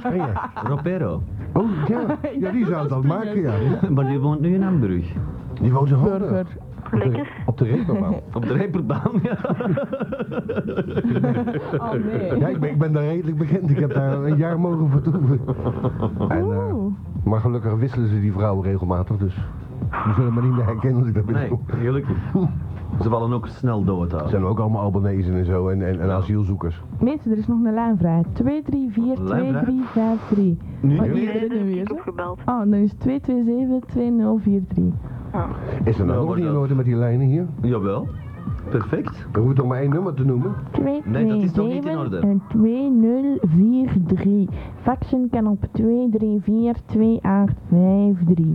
Ah, ja. Ropero. Oh ja, ja die zou dat maken ja. maar die woont nu in Hamburg. Die woont in Hamburg. Burger. Lekker. Op de reeperbaan. Op de Reeperbaan, ja. Oh nee. Ja, ik ben, ik ben daar redelijk bekend. Ik heb daar een jaar mogen vertoeven. En, eh, Oeh. maar gelukkig wisselen ze die vrouwen regelmatig, dus die zullen me niet meer herkennen als ik daar Nee, binnenkom. gelukkig. Ze vallen ook snel dood Het aan. zijn ook allemaal Albanezen en zo en, en, en asielzoekers. Mensen, er is nog een lijn vrij. 234 Lijn 2353. Nu? Oh, Nee, iedereen dat heb weer, ik hè? opgebeld. Oh, en dan is 227 2043. Is Ja, er nou nog maar niet in dat- orde met die lijnen hier? Jawel. Perfect. We hoeven toch maar één nummer te noemen? Nee, dat is nog niet in orde. 227 en 2043. Faxen kan op 234 2853.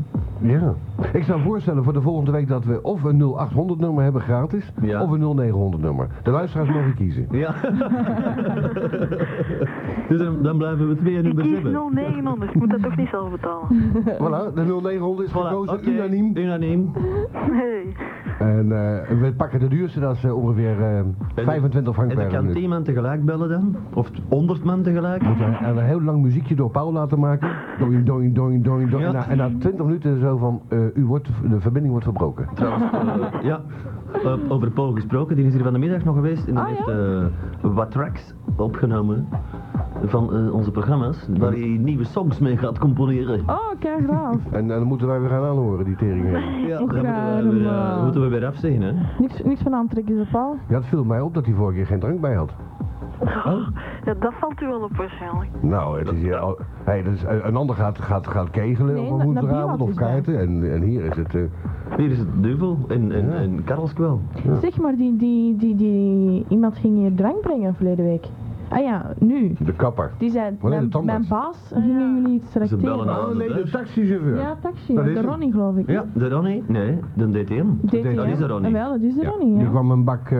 Ja. Ik zou voorstellen voor de volgende week dat we of een 0800 nummer hebben gratis, Ja. of een 0900 nummer. De luisteraars mogen kiezen. Ja. dus dan, dan blijven we twee Ik nummers kies hebben. 0900. Ik moet dat toch niet zelf betalen. Voilà, de 0900 is gekozen, oké. unaniem. Unaniem. Nee. En eh, we pakken de duurste, dat is eh, ongeveer eh, 25 frank En per dan kan minuut. 10 man tegelijk bellen dan. Of 100 man tegelijk. En en een heel lang muziekje door Paul laten maken. Doing, doing, doing, doing, doing. Ja. En, na, en na 20 minuten zo van, eh, u wordt, de verbinding wordt verbroken. Trouwens, eh, ja, eh, over Paul gesproken, die is hier van de middag nog geweest en die Ah, ja? heeft eh, wat tracks opgenomen van eh, onze programma's, waar hij nieuwe songs mee gaat componeren. Oh, kijk af. En, en dan moeten wij weer gaan aanhoren, die teringen. Ja, dat Och, moeten we, rare weer, eh, man. moeten we weer afzien, hè? niks, niks van aantrekken, is op al. Ja, het viel mij op dat hij vorige keer geen drank bij had. Ja, dat valt u wel op waarschijnlijk. Nou, het is hier al, hey, dat is, eh, een ander gaat, gaat, gaat kegelen Nee, op een Na- woensdagavond Nabil of had dus kaarten. En, en hier is het... eh, Hier is het Duvel en, en, Ja. en Karelskwel. Zeg maar, die, die, die, die, iemand ging hier drank brengen verleden week. Ah ja, nu. de kapper. Die zei, Wanneer de mijn, tandarts? mijn baas, eh, gingen jullie iets bellen tracteren? aan. Oh, nee, de taxichauffeur. Ja, taxi, Dat is de hem. Ronnie geloof ik. Ja, de Ronnie? Nee, de DTM. DTM. Dat is de Ronnie. Ah, wel, dat is de Ja, Ronnie, Die ja. kwam een bak eh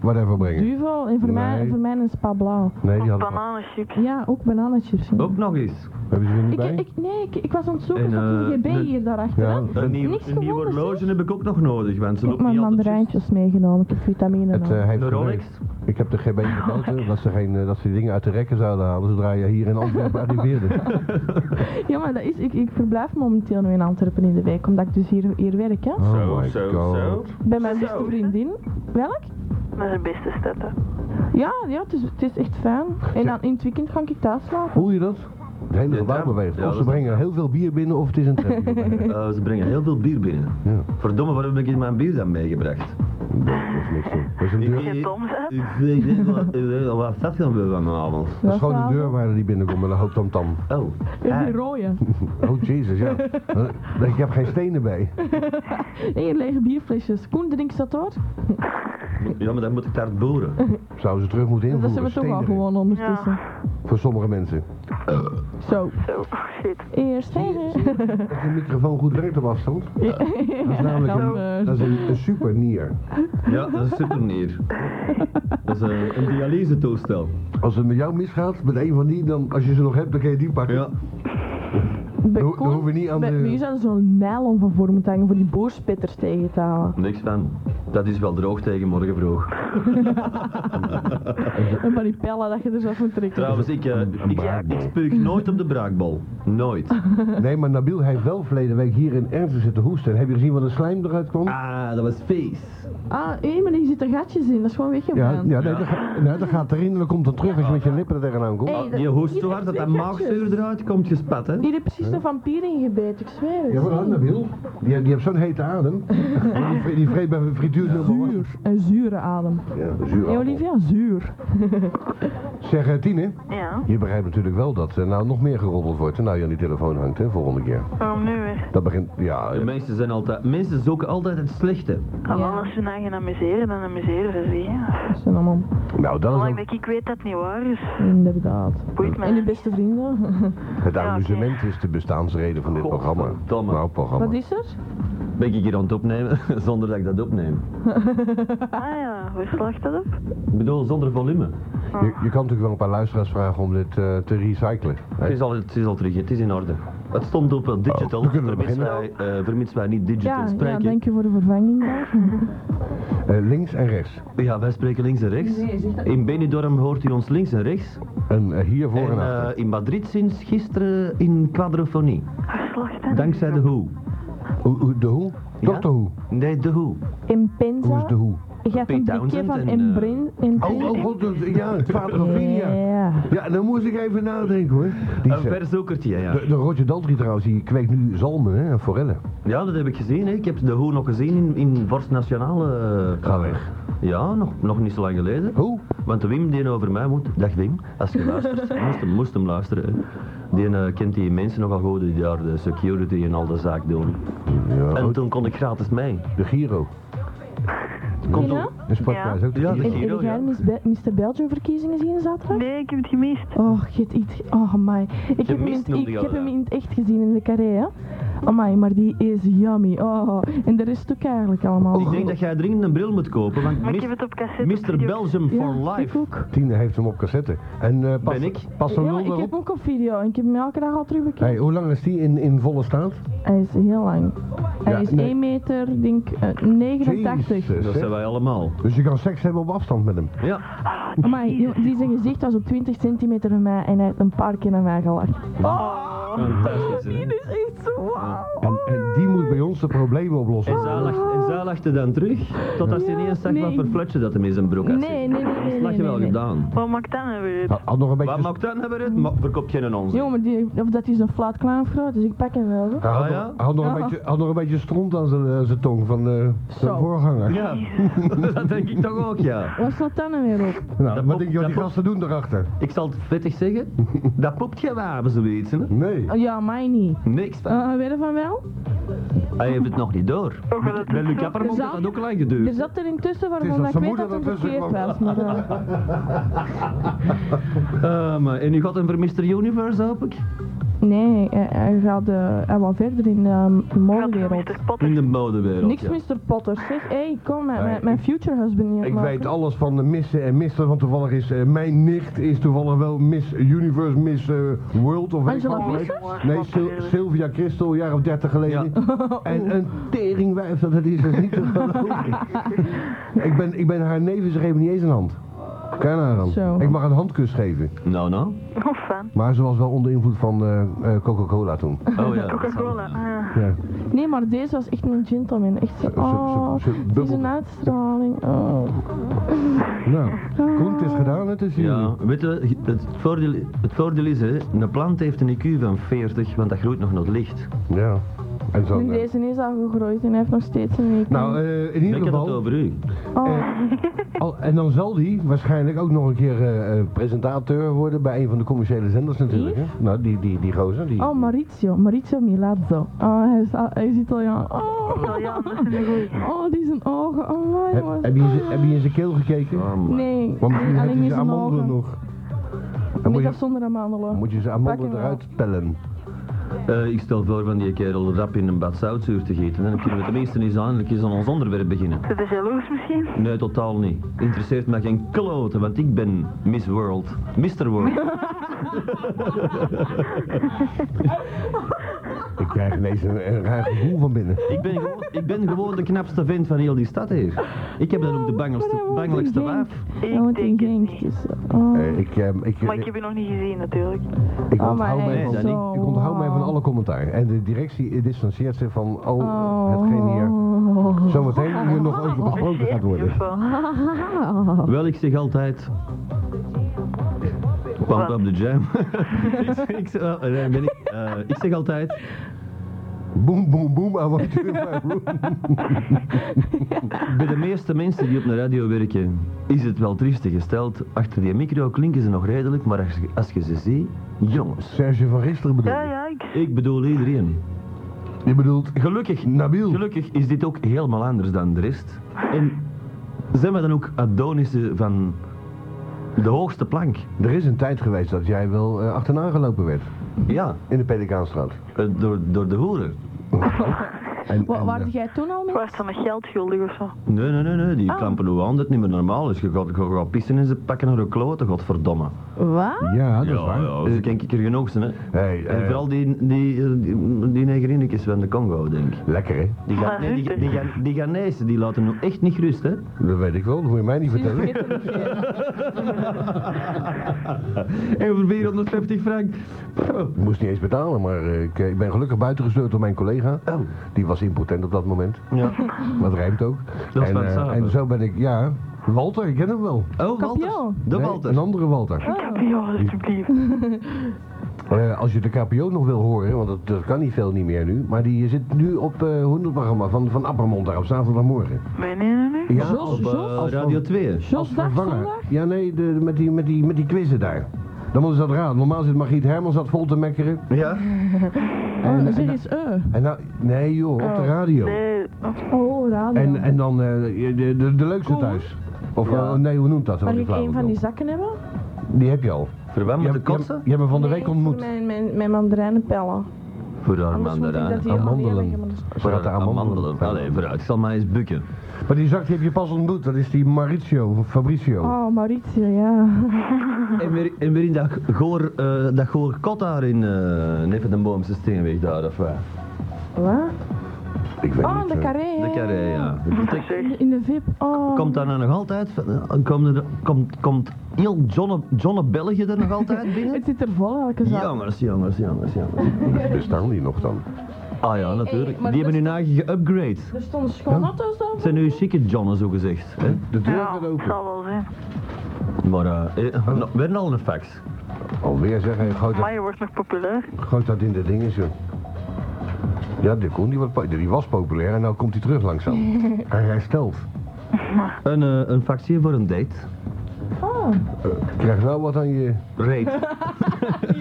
whatever brengen. Duvel en voor, mij, Nee. voor mij een spa blauw. Nee, die Of hadden bananenchips. Ja, ook bananetjes. ja. Ook nog eens. Hebben ze er niet Ik, bij? ik, nee, ik, ik was aan het zoeken En, zat eh, een GB de- hier daarachter. ja, hè? Een het, nieuw, Niks een nieuw gevonden, horloge heb ik ook nog nodig, want ze Ik heb loopt mijn niet altijd... mandarijntjes meegenomen, ik heb vitamine het, eh, nodig. heeft De gewerkt. Rolex? Ik heb de GB gebeld dat ze, geen, eh, dat ze die dingen uit de rekken zouden halen zodra je hier in Antwerpen arriveerde. Ja, maar dat is, ik, ik verblijf momenteel nu in Antwerpen in de week, omdat ik dus hier, hier werk, hè. Oh my god. Bij mijn Zo. beste vriendin. Welk? Dat is het beste stad, hè. Ja, ja het, is, het is echt fijn. En dan in het weekend ga ik thuis slapen. Voel je dat? Het hele De gebouw tram. beweegt. Ja, Of dat ze is- brengen heel veel bier binnen of het is een trap. Eh, ze brengen heel veel bier binnen. Ja. Verdomme, waarom heb ik mijn bier dan meegebracht? Dat is niks hoor. Dat is een Als deur, je dom bent, Ik weet niet wat- wat dat gaan we vanavond. dat is gewoon een Laatste avond. deurwaarder die binnenkomt met een hoop tamtam. Oh, Ja, ah, die rode. Oh jezus, ja. Eh, Ik heb geen stenen bij. Hier lege bierflesjes. Koen drinkt dat hoor. moet- ja, maar dan moet ik daar boren. Zouden ze terug moeten Dat invoeren. zijn we toch stenen al erin. gewoon ondertussen. Voor sommige mensen. Zo, zo. oh, Shit. eerst zeggen. Dat de microfoon goed werkt op afstand. Dat is namelijk Dan, een, eh, dat is een, een super nier. Ja, dat is super neer. Dat is eh, een dialysetoestel. Als het met jou misgaat, met een van die, dan als je ze nog hebt, dan kan je die pakken. Ja, Bij Daar- daar Koen- hoeven we niet aan bij- de- Hier zouden ze zo'n nylon van voor moeten hangen voor die boorspitters tegen te houden. niks van. Dat is wel droog tegen morgen vroeg. En van die pellen dat je er zelf moet trekken. Trouwens, ik, eh, ik, braakbal. ik spuug nooit op de braakbal. Nooit. Nee, maar Nabil heeft wel verleden week hier in Ernst zitten hoesten. En heb je gezien wat een slijm eruit kwam? Ah, dat was feest. Ah, hé, maar hier zitten gatjes in. Dat is gewoon Ja, weggebrand. ja, nee, dat, gaat, nee, dat gaat erin en dan komt dan terug als je met je lippen er tegenaan komt. Hey, dat- Je hoest hier zo echt hard dat twee dat gatjes. maagzuur eruit komt gespat, hè? Hier heeft precies een vampier in gebeten, ik zweer het. Ja, wat dan, Nabil? Die, die heeft zo'n hete adem. En die, vri- die vreet bij frituur zo Zuur. Een zure adem. Ja, Hey zuur. Olivia, zuur. Zeg, eh, Tine, Ja, je begrijpt natuurlijk wel dat er nou nog meer geroddeld wordt. En nou je aan die telefoon hangt, hè, volgende keer. waarom nu weer? Dat begint, ja, eh, De mensen, zijn altijd, mensen zoeken altijd het slechte. Ah, wel, als ze naar gaan amuseren, dan amuseren ze zich. hè. Dat zijn allemaal, nou dat is Zolang ook dat ik weet dat het niet waar is, inderdaad. boeit mij. En de beste vrienden. het Ja, amusement is de bestaansreden van dit programma. Godverdomme. Nou, Wat programma. is er? Ben ik hier aan het opnemen, zonder dat ik dat opneem. Ah ja, waar slaagt dat op? Ik bedoel, zonder volume. Je, je kan natuurlijk wel een paar luisteraars vragen om dit eh, te recyclen. Het is al, het is al terug, het is in orde. Het stond op eh, digital, dan kunnen Oh, we vermits, wij, beginnen. eh, vermits wij niet digital Ja, ja, spreken. dank je voor de vervanging. daar. Eh, links en rechts. Ja, wij spreken links en rechts. In Benidorm hoort u ons links en rechts. En eh, hier voor en, en achter. eh, in Madrid sinds gisteren in quadrofonie. Hartslag, Dankzij de Who. Hoe- hoe- de hoe? eh, Toch Ja? de hoe? Nee, de Who. In Hoe is Penza, de hoe? je hebt een Pete blikje Townsend van en, in eh, Brin. In Oh, oh, god, dat- ja, het Quadrophenia. Ja. Ja, dan moest ik even nadenken hoor. Die Een is, eh, verzoekertje, ja. de, de Roger Daltrey trouwens, die kweekt nu zalmen hè, en forellen. Ja, dat heb ik gezien. Hè. Ik heb de Who nog gezien in, in Vorst Nationale. eh, Ga weg. Ja, nog, nog niet zo lang geleden. Hoe? Want de Wim die over mij moet, dag Wim, als je luistert, moest hem, moest hem luisteren. hè. Die eh, kent die mensen nogal goed die daar de security en al de zaak doen. Ja, En ook toen kon ik gratis mee. Oh, de Giro. Kon Tina? toen- Dat sprak mij ook. de Ja, Giro. de En Giro, heb jij ja. Miss Be- Mr. Belgium verkiezingen zien zaterdag? Nee, ik heb het gemist. Oh, je hebt iets. Oh, my. Ik heb, hem in, mist het- noemde ik, je ik al, heb hem ja. in het echt gezien in de carré, hè? Amai, maar die is yummy. Oh, en de rest ook eigenlijk allemaal. Ik denk dat jij dringend een bril moet kopen, want Maar ik mis- heb het op cassette. op Mr. video. Belgium Ja, for ik Life. ook. Tine heeft hem op cassette. En eh pas, Ben ik? pas dan Ja, wel ik heb erop. hem ook op video en ik heb hem elke dag al terugbekeken. Hey, hoe lang is die in, in volle staat? Hij is heel lang. Hij Ja, is nee. 1 meter, denk ik, eh, 89. Jezus, Dat hè. zijn wij allemaal. Dus je kan seks hebben op afstand met hem. Ja, Amai, joh, die zijn gezicht was op 20 centimeter van mij en hij heeft een paar keer naar mij gelacht. fantastisch. hè. is echt zo wauw. En, en die moet bij ons de problemen oplossen. En zij, lachte, en zij lachte dan terug, totdat ze Ja, ineens zag nee. wat voor flutje dat hem in zijn broek had Nee, zitten. nee, nee, nee, Dat had je nee, wel nee. gedaan. Wat maakt dat nou weer? uit? Had, had nog een beetje... Wat maakt dat hebben het? Ma- Verkoop geen onzin. Jongen, die, of dat is een flat klaanvrouw, dus ik pak hem wel. hoor. Hij had, Ah, ja? nog- had nog een Ah. beetje, had nog een beetje stront aan zijn, eh, zijn tong van eh, zijn Zo. voorganger. Ja, dat denk ik toch ook, ja. Waar staat dat nou weer op? Nou, Dat wat pop- denk je dat wat die pop- gasten doen erachter? Ik zal het vettig zeggen, dat popt geen wapen, zoiets. Hè? Nee. Oh, ja, mij niet. Niks van. Eh weet je van wel? Hij heeft het nog niet door. Oh, maar dat Bij is Luc zo- Appermond had dat ook lang Er geduurd. zat er intussen Het is waarvan dat ik zijn weet moeder dat het ertussen verkeerd kwam. was. Maar, eh, Eh, maar, en u gaat hem voor Mr. Universe, hoop ik? nee, hij, hij gaat eh, hij wou verder in ehm, de modewereld. Mr. Potter. In de modewereld. Niks ja. Mr. Potter, zeg. Hé, hey, kom, mijn, Nee, mijn- mijn future husband hier Ik maken. weet alles van de missen en missen, want toevallig is eh, mijn nicht is toevallig wel Miss Universe, Miss eh, World of weet ik Angela wat. Visser? Nee, Sil- Sylvia Christel, een jaar of dertig geleden. En een teringwijf, dat het is dat is niet te geloven. ik, ben, ik ben haar neef en ze geven niet eens een hand. Kijk naar haar dan. Zo. Ik mag een handkus geven. Nou, nou. Oh, fan. Maar ze was wel onder invloed van eh, eh, Coca-Cola toen. Oh ja. Coca-Cola. Ah. Ja. Nee, maar deze was echt een gentleman. Echt zo. Oh, zo- zo die bubbelt. zijn uitstraling. Oh. Nou, Koen, het is gedaan, het is hier. Ja, weet je, het voordeel, het voordeel is, hè, een plant heeft een IQ van 40, want dat groeit nog naar het licht. Ja. En zo. eh, En deze is al gegroeid en hij heeft nog steeds een week. Nou, eh, in ieder Denk je dat geval. over u? oh, al- en dan zal die waarschijnlijk ook nog een keer eh, eh, presentateur worden bij een van de commerciële zenders natuurlijk. Hè? Nou, die, die, die gozer. Die, oh, Maurizio. Maurizio Milazzo. Oh, hij is, al- hij is Italiaan. Oh, Italiaan, dat is een goeie. oh, die zijn ogen. Oh, my heb, jongens. heb, je, in zijn- heb je in zijn keel gekeken? Oh, Nee, Want misschien heeft nee, alleen hij niet zijn zijn amandelen ogen. nog. Dan moet Met je, of zonder amandelen. moet je zijn Pak amandelen hem wel. eruit pellen. Eh, ik stel voor van die kerel rap in een bad zoutzuur te gieten. Dan kunnen we tenminste eens eindelijk eens aan ons onderwerp beginnen. Zit er jaloers misschien? Nee, totaal niet. Interesseert mij geen klote, want ik ben Miss World. Mr. World. Ik krijg ineens een, een raar gevoel van binnen. ik, ben gewoon, ik ben gewoon de knapste vent van heel die stad hier. Ik heb dan ook de maar hij bangelste, woont bangelijkste in Genk. waaf. Ik Hij woont in denk het Genk, niet. dus, oh. Eh, ik, eh, ik, Maar ik heb je nog niet gezien natuurlijk. ik Oh, maar onthoud hij mij is van, zo ik onthoud mij van wauw. alle commentaar. En de directie distancieert zich van al hetgeen hier Oh. zometeen hier nog over besproken gaat worden. Wel, ik zeg altijd... Pump up the jam. ik, zeg- ik, zeg- oh, nee, ben ik, eh, ik zeg altijd... Boom, boom, boom, I want you in my room. Bij de meeste mensen die op de radio werken, is het wel triestig gesteld. Achter die micro klinken ze nog redelijk, maar als, je- als je ze ziet, jongens. Serge van Risteren bedoel Ja, je? ja, ik... Ik bedoel iedereen. Je bedoelt Gelukkig, Nabil. gelukkig is dit ook helemaal anders dan de rest. En zijn we dan ook Adonissen van de hoogste plank? Er is een tijd geweest dat jij wel eh, achterna gelopen werd Ja, in de Pelikaanstraat. eh, door, door de hoeren. En, Wa en, eh, waarde jij toen al mee? Was dan een geld schuldig of zo? Nee, nee, nee, nee. die Ah. kampen doen aan dat het niet meer normaal is. Je gaat, je gaat pissen in ze pakken naar de kloten, godverdomme. Wat? ja, dat is ja, waar. ja, ze ken ik er genoeg zijn, hè. Hey, en eh, vooral die, die, eh, die, die negerinnetjes van de Congo, denk ik. Lekker, hè? Die, Ga- Ah, nee, die, rustig. die, Ga- die Ghanese, die laten nu echt niet rust, hè. Dat weet ik wel, dat moet je mij niet Zie je, vertellen. ik weet het niet. En voor 450 frank. Ik moest niet eens betalen, maar eh, ik, ik ben gelukkig buitengesloten door mijn collega. Oh. Die was impotent op dat moment. Ja. Wat rijmt ook. Dat is en, van eh, Samen. en zo ben ik, ja. Walter, ik ken hem wel. Oh, Kampioen. Walter. De Nee, Walter. Een andere Walter. Ja, alsjeblieft. Eh, als je de KPO nog wil horen, want dat, dat kan niet veel niet meer nu. Maar die zit nu op eh hoe noemt het programma van, van Appermond daar op zaterdagmorgen. Nee, nee, nee, nee. Ja, Jos, als- Op eh, Jos, als Radio 2. Jos als dag vervanger. zondag? Ja, nee, de, met, die, met, die, met die quizzen daar. Dan moeten ze dat raden. Normaal zit Margriet Hermans dat vol te mekkeren. Ja? Oh, zeg eens eh. En nou, nee joh, op de radio. Nee, Oh, radio. En, en dan eh, de, de, de leukste Koen? thuis. Of Ja. eh, nee, hoe noemt dat? Mag Die ik flauwe een van die bedoel. zakken hebben? Die heb je al. Verwant Je met hebt- de je hebt- kotsen? Je hebt me van de week Nee, voor ontmoet. Mijn, mijn, mijn mandarijnenpellen. Voor haar Anders moet ik dat mandarijn. hier alleen Amandelen. leggen, maar dat is- Voor dat de amandelen. amandelen. Allee, vooruit. Ik zal mij eens bukken. Maar die zak die heb je pas ontmoet. Dat is die Mauricio, of Fabrizio. Oh, Mauricio, ja. En weer, en weer in dat goor, eh, dat goor kot daar in eh Neven den Boomse Steenweg daar, of waar? Wat? Ik weet Oh, niet, de eh, carré, De hè? carré, ja. De bibliotheek. zeg. In de VIP, oh. Komt daar nou nog altijd? eh, Komt, er, komt, komt heel Johnne, Johnne België er nog altijd binnen? Het dus zit er vol elke zaak. Jongens, jongens, jongens, jongens. Bestaan die nog dan? Ah ja, natuurlijk. maar Die dat hebben hun eigen geupgrade. Er stonden schoonauto's dan? Het zijn nu chique Johnne, zo gezegd. Hè? De deur Nou, ja, gaat open. zal wel zijn. Maar eh, eh, nou, we hebben al een fax. Alweer zeggen, gooi dat, Maar je wordt nog populair. gooi dat in de dingen, joh. Ja, de Koen, die, wordt po- die was populair en nou komt hij terug langzaam. Hij herstelt. Een, eh, een fax hier voor een date. Oh, Je krijgt Eh, wel wat aan je... Rate.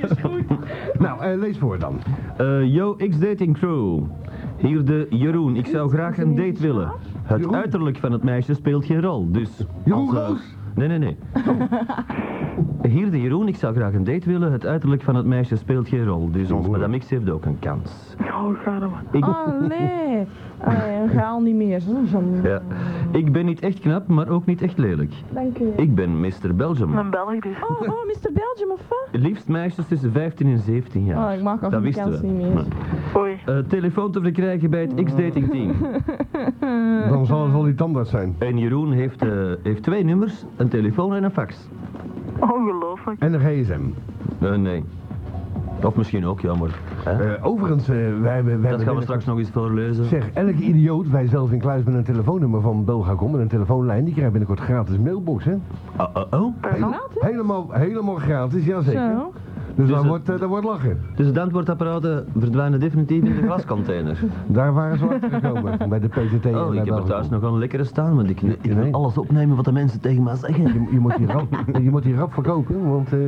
Nou, eh, lees voor dan. Eh, yo, X-Dating Crew. Hier de Jeroen. Ik zou graag een date willen. Het Jeroen? uiterlijk van het meisje speelt geen rol, dus... Jeroen als, eh, Roos? Nee, nee, nee. Hier de Jeroen. Ik zou graag een date willen. Het uiterlijk van het meisje speelt geen rol, dus ons Jeroen. madame X heeft ook een kans. Oh, ga dan maar. Ik, oh nee. Allee, ga al niet meer. Zo, zo. ja. ik ben niet echt knap, maar ook niet echt lelijk. Dank u. Ik ben Mr. Belgium. Een Belg dus. Oh, oh, Mr. Belgium of wat? Het liefst meisjes tussen 15 en 17 jaar. Oh, ik maak al Dat geen wisten kans we. niet meer. Maar- Oei. Eh, telefoon te verkrijgen bij het X-Dating Team. Eh, Dan zal het wel die tandarts zijn. En Jeroen heeft, eh, heeft twee nummers, een telefoon en een fax. Ongelooflijk. En de gsm. Eh, nee. Of misschien ook, ja, maar... hè? Eh, overigens, eh, wij hebben... Wij hebben Dat gaan we binnenkort- straks nog eens voorlezen. Zeg, elke idioot, wij zelf in Kluis met een telefoonnummer van Belgacom en een telefoonlijn, die krijgt binnenkort gratis mailbox, hè? Oh, oh, oh. Pardon? Laat, hè? Helemaal, helemaal gratis, jazeker. Zo. Dus daar het- wordt, eh, daar wordt lachen. Dus de antwoordapparaten verdwijnen definitief in de glascontainer. Daar waren ze wel achter gekomen, bij de PTT en Oh, bij ik heb er Belgacom. thuis nog wel een lekkere staan, want ik, ik Nee. wil alles opnemen wat de mensen tegen mij zeggen. Je, je, moet die rap, je moet die rap verkopen, want eh,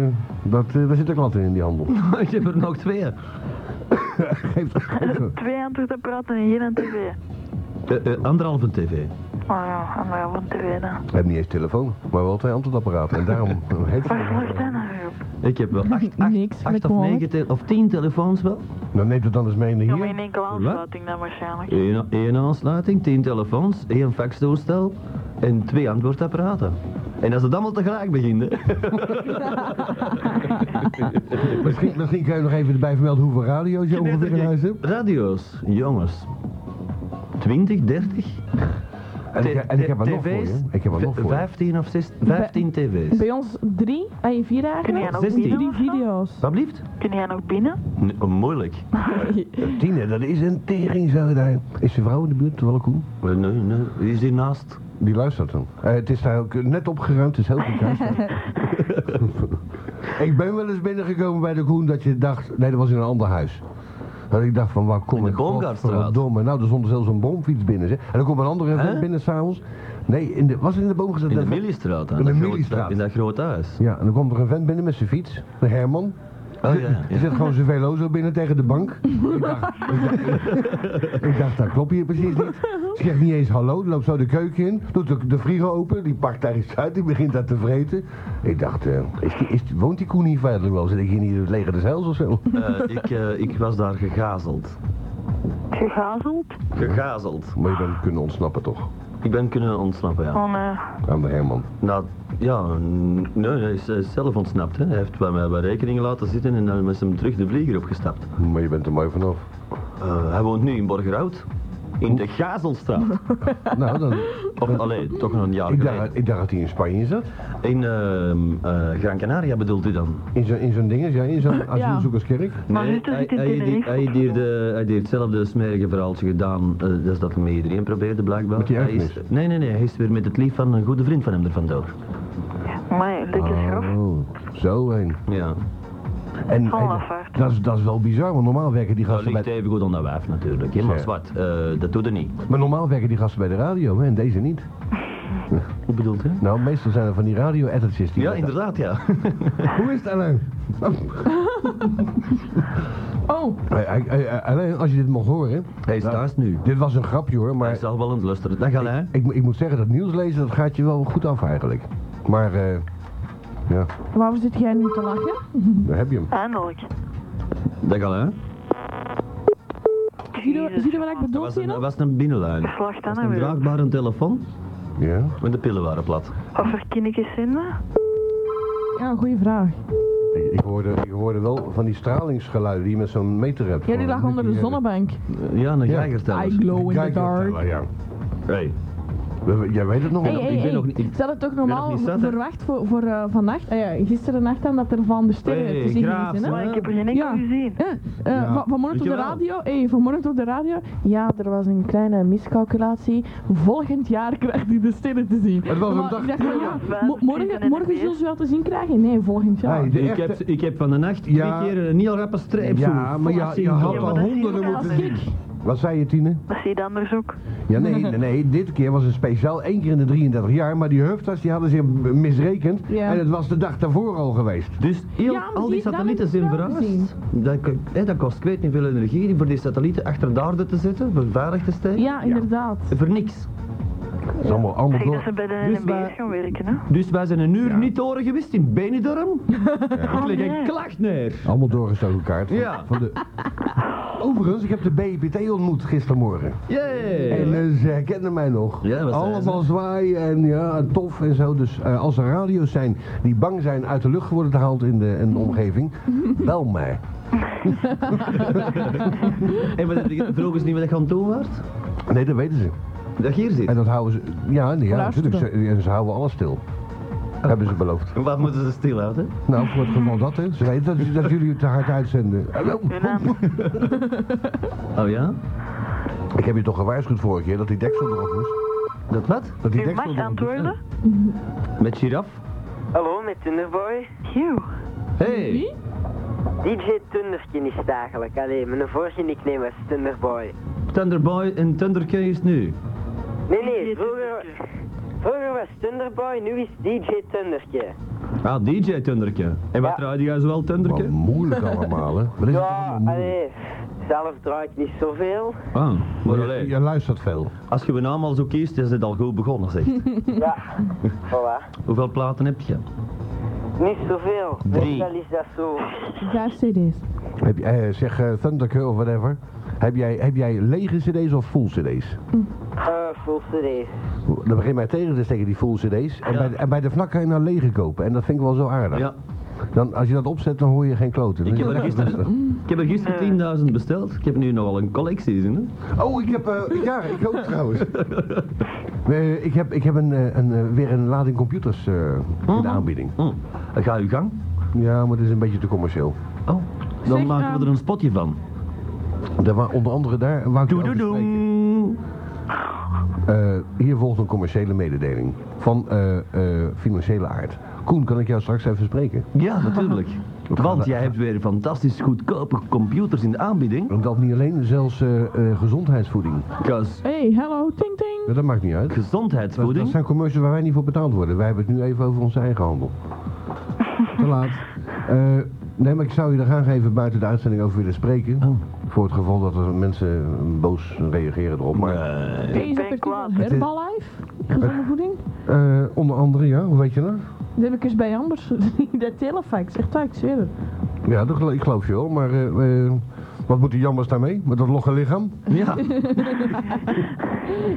dat, eh, daar zitten klanten in die handel. ik heb er nog twee. Eh, Geeft Twee antwoordapparaten en geen aan tv. Eh, eh, anderhalve tv. Oh ja, anderhalf aan tv dan. We hebben niet eens telefoon, maar wel twee antwoordapparaten. En daarom heeft Waar slaat ze... dat nou weer op? Ik heb wel acht, acht, Niks acht met of honger. negen te- of tien telefoons wel. Nou, neemt het dan eens mee Ja, naar maar in hier. enkele aansluiting dan waarschijnlijk. Eén, één aansluiting, tien telefoons, één faxtoestel en twee antwoordapparaten. En als het allemaal tegelijk begint, hè? Misschien, misschien kun je nog even erbij vermelden hoeveel radio's je ongeveer in huis hebt. Radio's, jongens. 20, 30? En ik, en ik heb er nog voor TV's? je. Ik heb er nog voor je. 15 of 16, 15 tv's. Bij ons drie, ah, vier Kun jij eigenlijk. ook Zestien. binnen Drie of zo? video's. Wat blieft? Kun jij nog binnen? Nee, oh, moeilijk. Tine, dat is een tering, zou daar. Is je vrouw in de buurt, wel Koen? Nee, nee, nee, die is hiernaast. Die luistert dan. Eh, het is daar ook net opgeruimd, het is heel goed huis. ik ben wel eens binnengekomen bij de Koen dat je dacht, nee dat was in een ander huis. Dat ik dacht van waar In kom de ik Boomgaardstraat. godverdomme. Nou, er stond zelfs een bromfiets binnen. Zeg. En dan komt een andere Hè? vent binnen s'avonds. Nee, in de, was het in de boomgaard? In de Milliestraat. aan In de dat groot- Milliestraat. In dat grote huis. Ja, en dan komt er een vent binnen met zijn fiets. De Herman. Oh ja. Die ja. zet gewoon zijn velozo binnen tegen de bank. ik, dacht, ik, dacht, ik dacht, dat klopt hier precies niet. Ze zegt niet eens hallo, loopt zo de keuken in, doet de, de frigo open, die pakt daar iets uit, die begint daar te vreten. Ik dacht, eh, is die, is, die- woont die koe niet feitelijk wel? Zit ik hier niet in het leger des heils of zo? Eh, ik, eh, ik was daar gegazeld. Gegazeld? Gegazeld. Maar je bent kunnen ontsnappen toch? Ik ben kunnen ontsnappen, ja. Van, eh, Aan de Herman. Nou, ja, n- nee, hij is, hij is zelf ontsnapt. Hè. Hij heeft bij mij bij rekeningen laten zitten en dan is hem terug de vlieger opgestapt. Maar je bent er mooi vanaf. Eh, hij woont nu in Borgerhout. In de Gazelstraat. nou, dan, Of, allee, toch nog een jaar ik, geleden. dacht, ik dacht dat hij in Spanje zat. In ehm eh, Gran Canaria bedoelt u dan? In zo'n in zo'n ding, ja, in zo'n asielzoekerskerk. Maar Nee, dit is hij, het in hij, heeft die- Tenerife hij, heeft hier de- hij heeft hetzelfde smerige verhaaltje gedaan. eh, dat is dat hij met iedereen probeerde, blijkbaar. Met die hij is, erfenis? nee, nee, nee. Hij is weer met het lief van een goede vriend van hem er vandoor. maar dat is graf. Oh, zo heen. Ja. En, Van en Lafaard. dat, is, dat is wel bizar, want normaal werken die Dat gasten ligt bij, even goed aan dat wijf natuurlijk. hè, maar Ja. zwart, eh, dat doet er niet. maar normaal werken die gasten bij de radio hè, en deze niet. Hoe bedoelt u? Nou, meestal zijn er van die radio-editjes die... Ja, inderdaad, ja. Hoe is het Alain? Oh, Hey, hey, hey, hey, Alain, als je dit mag horen... Hij is Nou, thuis nu. Dit was een grapje hoor, Hij maar is al wel aan het lusteren. Dat gaat hij. ik, mo- ik moet zeggen, dat nieuws lezen, dat gaat je wel goed af eigenlijk. Maar, eh, ja, waarom zit jij nu te lachen? daar heb je hem. Eindelijk. Dat gaat hij. Zie je, zie je wat ik Dat bedoel, was een, Gerard? dat was een binnenlijn. Dat Verslag dan was en een weer. draagbare telefoon, Ja. maar de pillen waren plat. Wat voor kindertjes zijn dat? Ja, goede vraag. Ik, ik hoorde, ik hoorde wel van die stralingsgeluiden die je met zo'n meter hebt. Oh, Ja, die lag onder de zonnebank. zonnebank. Eh, Ja, een Ja. geigerteller. I glow in the dark. Ja. Hey, We- we- Jij weet het nog Hey, wel. hey, ben hey. nog niet- ik Ze hadden toch nog normaal niet zat, hè? verwacht voor, voor eh, vannacht, eh, ja, gisteren nacht aan dat er van de sterren Hey, te zien graaf, is. Hè? zeg. Maar ik heb er geen enkel Ja. gezien. Ja, eh, van- vanmorgen op de Dankjewel. radio, hey, vanmorgen op de radio, ja, er was een kleine miscalculatie. Volgend jaar krijgt hij de sterren te zien. Het was een Maar dag ik dacht van, ja, terug. mo- morgen, morgen zullen ze wel te zien krijgen. Nee, volgend jaar. Hey, de ik, echte- heb, ik heb van de nacht Ja. drie keer een heel rappe streep Ja, maar ja, je had Ja, al maar dat honderden zie je moeten wel. zien. Wat zei je, Tine? Dat zie je dan anders ook. Ja, nee, nee, nee, dit keer was het speciaal één keer in de 33 jaar, maar die hufters die hadden zich b- misrekend Ja. en het was de dag daarvoor al geweest. Dus heel, Ja, maar al die- die satellieten daar zijn heb ik het wel verhuisd. Dat, k- hè, dat kost ik weet niet veel energie voor die satellieten achter de aarde te zetten, voor veilig te steken. ja, inderdaad. Voor niks. Dat is allemaal, allemaal Zeg dat door. ze bij de Dus NMB's wij- gaan werken, hè? Dus wij zijn een uur Ja. niet horen geweest in Benidorm. Ik leg een klacht neer. Allemaal doorgestoken kaart. van- Ja. Van de... Overigens, ik heb de BPT ontmoet gistermorgen. En Yeah. eh, ze herkenden mij nog. Ja, wat zei Allemaal ze? zwaaien en ja, en tof en zo. Dus eh, als er radio's zijn die bang zijn uit de lucht worden gehaald in de, in Mhm. de omgeving, bel mij. En wat heb je- vroegen ze niet wat ik gaan doen was? Nee, dat weten ze. Dat je hier zit. En dat houden ze. Ja, nee, ja Luisteren. natuurlijk. Ze, en ze houden alles stil. Oh. Hebben ze beloofd. Wat moeten ze stilhouden? Nou, voor het geval dat, hè. Ze weten dat, dat jullie het te hard uitzenden. Hallo. Hun naam. Oh ja? Ik heb je toch gewaarschuwd vorige keer dat die deksel erop moest? Dat wat? Dat die U deksel mag erop moest, hè? antwoorden? Met giraf? Hallo, met Tunderboy. Joe. Hey! DJ Tunderkin is het eigenlijk. Allee, mijn vorige nickname was Tunderboy. Thunderboy en Thunderkay is nu. Nee, nee, vroeger, vroeger was Tunderboy, nu is DJ Tunderkin. Ah, DJ Thunderkay. En wat Ja. draaide jij zoal Wat Thunderkay? moeilijk allemaal, hè. Wat is het Ja, allemaal moeilijk? allee, zelf draai ik niet zoveel. Ah, maar Je, allee, je luistert veel. Als je je naam al zo kiest, is het al goed begonnen, zeg. Ja, voilà. Hoeveel platen heb je? Niet zoveel. Drie. Meestal is dat zo. Vijf cd's. Heb, je- eh, zeg, eh Thundercur of whatever. Heb jij, heb jij lege cd's of full cd's? Eh, full CD. Dan begin mij tegen te steken, die full cd's. En, Ja. bij, de- en bij de vlak kan je nou lege kopen. En dat vind ik wel zo aardig. Ja, Dan, als je dat opzet, dan hoor je geen kloten. ik heb Dan er is het rustig. gisteren, ik heb er Eh. gisteren 10.000 besteld. Ik heb nu nogal een collectie, zin. hè? Oh, ik heb... eh, ja, ik ook trouwens. Eh, ik heb, ik heb een, eh, een, eh, weer een lading computers eh, in de aanbieding. Hm. Ga uw gang. Ja, maar het is een beetje te commercieel. Oh, dan Zeg, maken ehm, we er een spotje van. Daar wa- onder andere daar wou ik je over spreken. Doedoedoe. Eh, hier volgt een commerciële mededeling van eh, eh, financiële aard. Koen, kan ik jou straks even spreken? Ja, natuurlijk. Want we- jij hebt weer fantastisch goedkope computers in de aanbieding. En Dat niet alleen, zelfs eh, eh, gezondheidsvoeding. Because Hey, hello, ting ting. Ja, dat maakt niet uit. Dat, dat gezondheidsvoeding. zijn commercials waar wij niet voor betaald worden. Wij hebben het nu even over onze eigen handel. Te laat. Eh, nee, maar ik zou je er graag even buiten de uitzending over willen spreken. Oh. Voor het geval dat er mensen boos reageren erop. Maar, Nee. Hey, is ben dat kwaad. Herbalife? Gezonde voeding? Eh, onder andere, ja, hoe weet je dat? Dat heb ik eens bij Ambers gezien, dat telefax. Echt waar, ik zweer het. Ja, dat gelo- ik geloof je wel, maar eh, eh, Wat moet die jammers daarmee? Met dat logge lichaam? Ja, En we,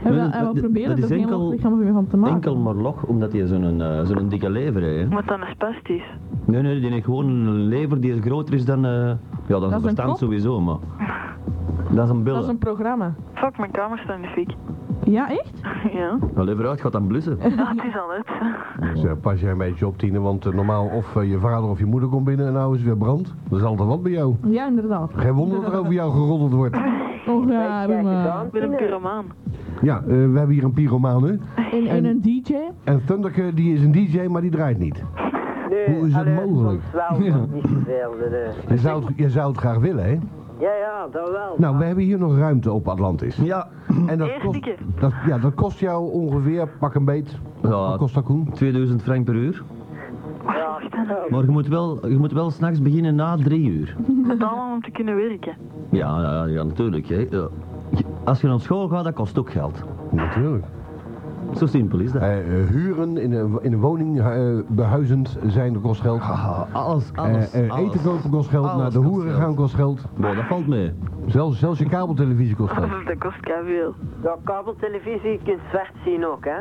dat- en we dat- proberen dat er is ook geen enkel- enkel... lichaam meer van te maken. Enkel maar log, omdat hij zo'n eh, zo'n dikke lever heeft. hè. Maar dan is spastisch. Nee, nee, die heeft gewoon een lever die is groter is dan... eh, ja, dan een zijn verstand kop? sowieso, maar... Dat is Dat een is billen. een programma. Fuck, mijn kamer staat in de fik. Ja, echt? ja. Een lever uit gaat dan blussen. Ah, het is al uit. Dus eh, pas jij een beetje op, Tine, want eh, normaal of eh, je vader of je moeder komt binnen en nou is weer brand. Dat is altijd wat bij jou. Ja, inderdaad. Geen wonder dat er over jou geroddeld wordt. Och, Kijk, Ah, ja, kijk, maar. gedaan. Ik ben een pyromaan. Ja, eh, we hebben hier een pyromaan nu. En, en een DJ. En Thunderke, die is een DJ, maar die draait niet. Nee, Hoe is dat allee, mogelijk? soms wel, maar niet zoveel. nee, nee. Je zou, het, je zou het graag willen, hè? Ja, ja, dat wel. Nou, we hebben hier nog ruimte op Atlantis. Ja, En dat Eerste kost, keer. dat, ja, dat kost jou ongeveer, pak een beet. Ja. Wat kost dat, Koen? 2000 frank per uur. Ja, ja. Maar je moet wel, je moet wel s'nachts beginnen na drie uur. Betalen om te kunnen werken. Ja, ja, ja natuurlijk. Hè. Ja. Als je naar school gaat, dat kost ook geld. Natuurlijk. Zo simpel is dat. Eh, eh, huren in een, in een woning eh, behuizend zijn, dat kost geld. Ah, alles, alles, Eh, eh, alles. eten kopen kost geld, Alles naar de kost hoeren geld. gaan kost geld. Boah, dat valt mee. Zelfs, zelfs je kabeltelevisie kost geld. Dat kost veel. Ja, kabeltelevisie, je kunt zwart zien ook, hè?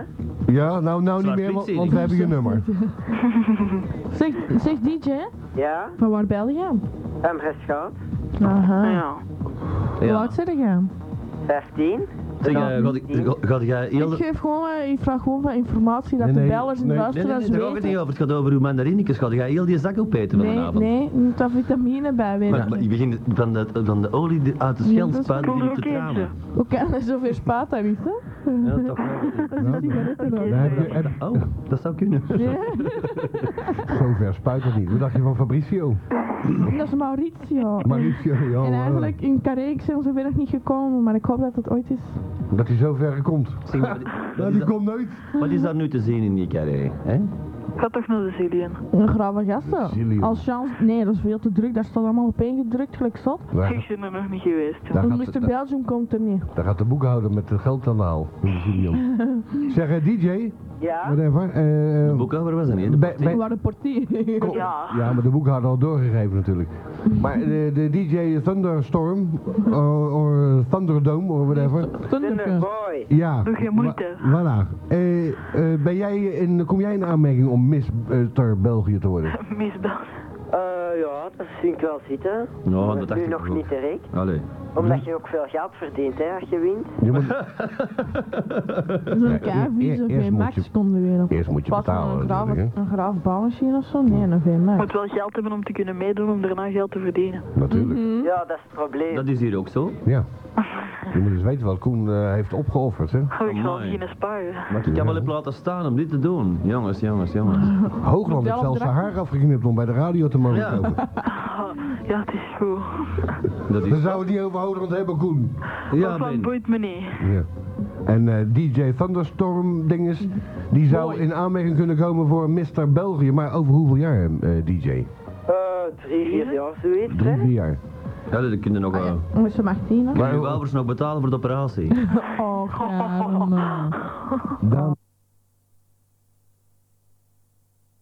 Ja, nou, nou niet Zwart meer, wit want, zie want ik. we hebben je nummer. Zeg, zeg DJ, Ja, van waar bel je? hem geschaad. Aha. Ja. Hoe Ja. oud zeg je? 15. Zeg, eh, gaat ik- ga- gaat jij heel... Ik, geef gewoon, eh, ik vraag gewoon wat informatie dat Nee, nee, de bellers en Nee, nee, nee. luisteraars nee, daar gaat het niet weten. over. Het gaat over uw mandarinekes. Gaat jij heel die zak opeten Nee, vanavond? nee, je moet daar vitamine bij Maar, maar je weten. begint van de, van de olie die- uit de Nee, schel dat is spuiten cool, begint te oké, tranen. Hoe kan er zoveel spaat aan weten? Ja, toch wel. Daar heb je- heb- Oh, dat zou kunnen. Ja, Zover spuit het niet. Wat dacht je van Fabrizio? dat is Mauricio. Mauricio, ja. En maar, eigenlijk in Carré zijn we zover nog niet gekomen, maar ik hoop dat het ooit is. Dat hij zover komt. Zeg, maar, wat, Nou, is die dat, komt nooit. wat is daar nu te zien in die carré? Hè? Ga toch naar de Zillion. Een grave gasten. Brazilië. Als chance. Nee, dat is veel te druk. Daar staat allemaal op gedrukt, gelijk zot. Ik ben er nog niet geweest. Daar Want gaat het- Mr. Belgium komt er niet. Daar gaat de boekhouder met het geld aan de haal. in de studio. zeg, eh, DJ, Ja, whatever. eh, De boekhouder was dat niet. hè? bij- De- bij- We waren portier. kom- Ja. ja, maar de boekhouder al doorgegeven natuurlijk. Maar de, de DJ Thunderstorm, or, or Thunderdome, of whatever. Thunderpunt. Thunderboy. Ja. Doe geen moeite. wa- voilà. Eh, eh, ben jij in, kom jij in aanmerking om Miss eh, ter België te worden? Misbel. Eh, ja, dat vind ik wel zitten. Ja, Maar Nou, dat dacht nu ik nog ook. Hm? niet te rijk. Allee. Omdat je ook veel geld verdient, hè, als je wint. Je moet- Zo'n Ja, eer- KV, eer- zo'n e- eerst moet VMAX je- komt er weer op. Eerst moet je Pas betalen. een graaf, natuurlijk, hè. een graaf bouwmachine of zo? Nee, een VMAX. Moet wel geld hebben om te kunnen meedoen om daarna geld te verdienen. Natuurlijk. Mhm. Ja, dat is het probleem. Hm? Dat is hier ook zo. Ja. Je moet eens weten wat Koen eh, heeft opgeofferd. Hè? Oh, ik zal Amai. beginnen sparen. Maar ik kan wel even laten staan om dit te doen. Jongens, jongens, jongens. Hoogland heeft Vertel zelfs het zijn haar afgeknipt om bij de radio te mogen Ja. komen. Ja, het is goed. Dat We is... zouden het niet over Hoogland hebben, Koen. Ja, Ook wat ben. boeit me niet. Ja. En eh, DJ Thunderstorm dinges, die zou Mooi. in aanmerking kunnen komen voor Mr. België. Maar over hoeveel jaar, eh, DJ? Eh, drie, vier jaar, zoiets, Drie, hè? vier jaar. Ja, dat kunnen nog... eh, Met z'n 18, hè? Kunnen uw ouders nog betalen voor de operatie? Oh, graag. Daan,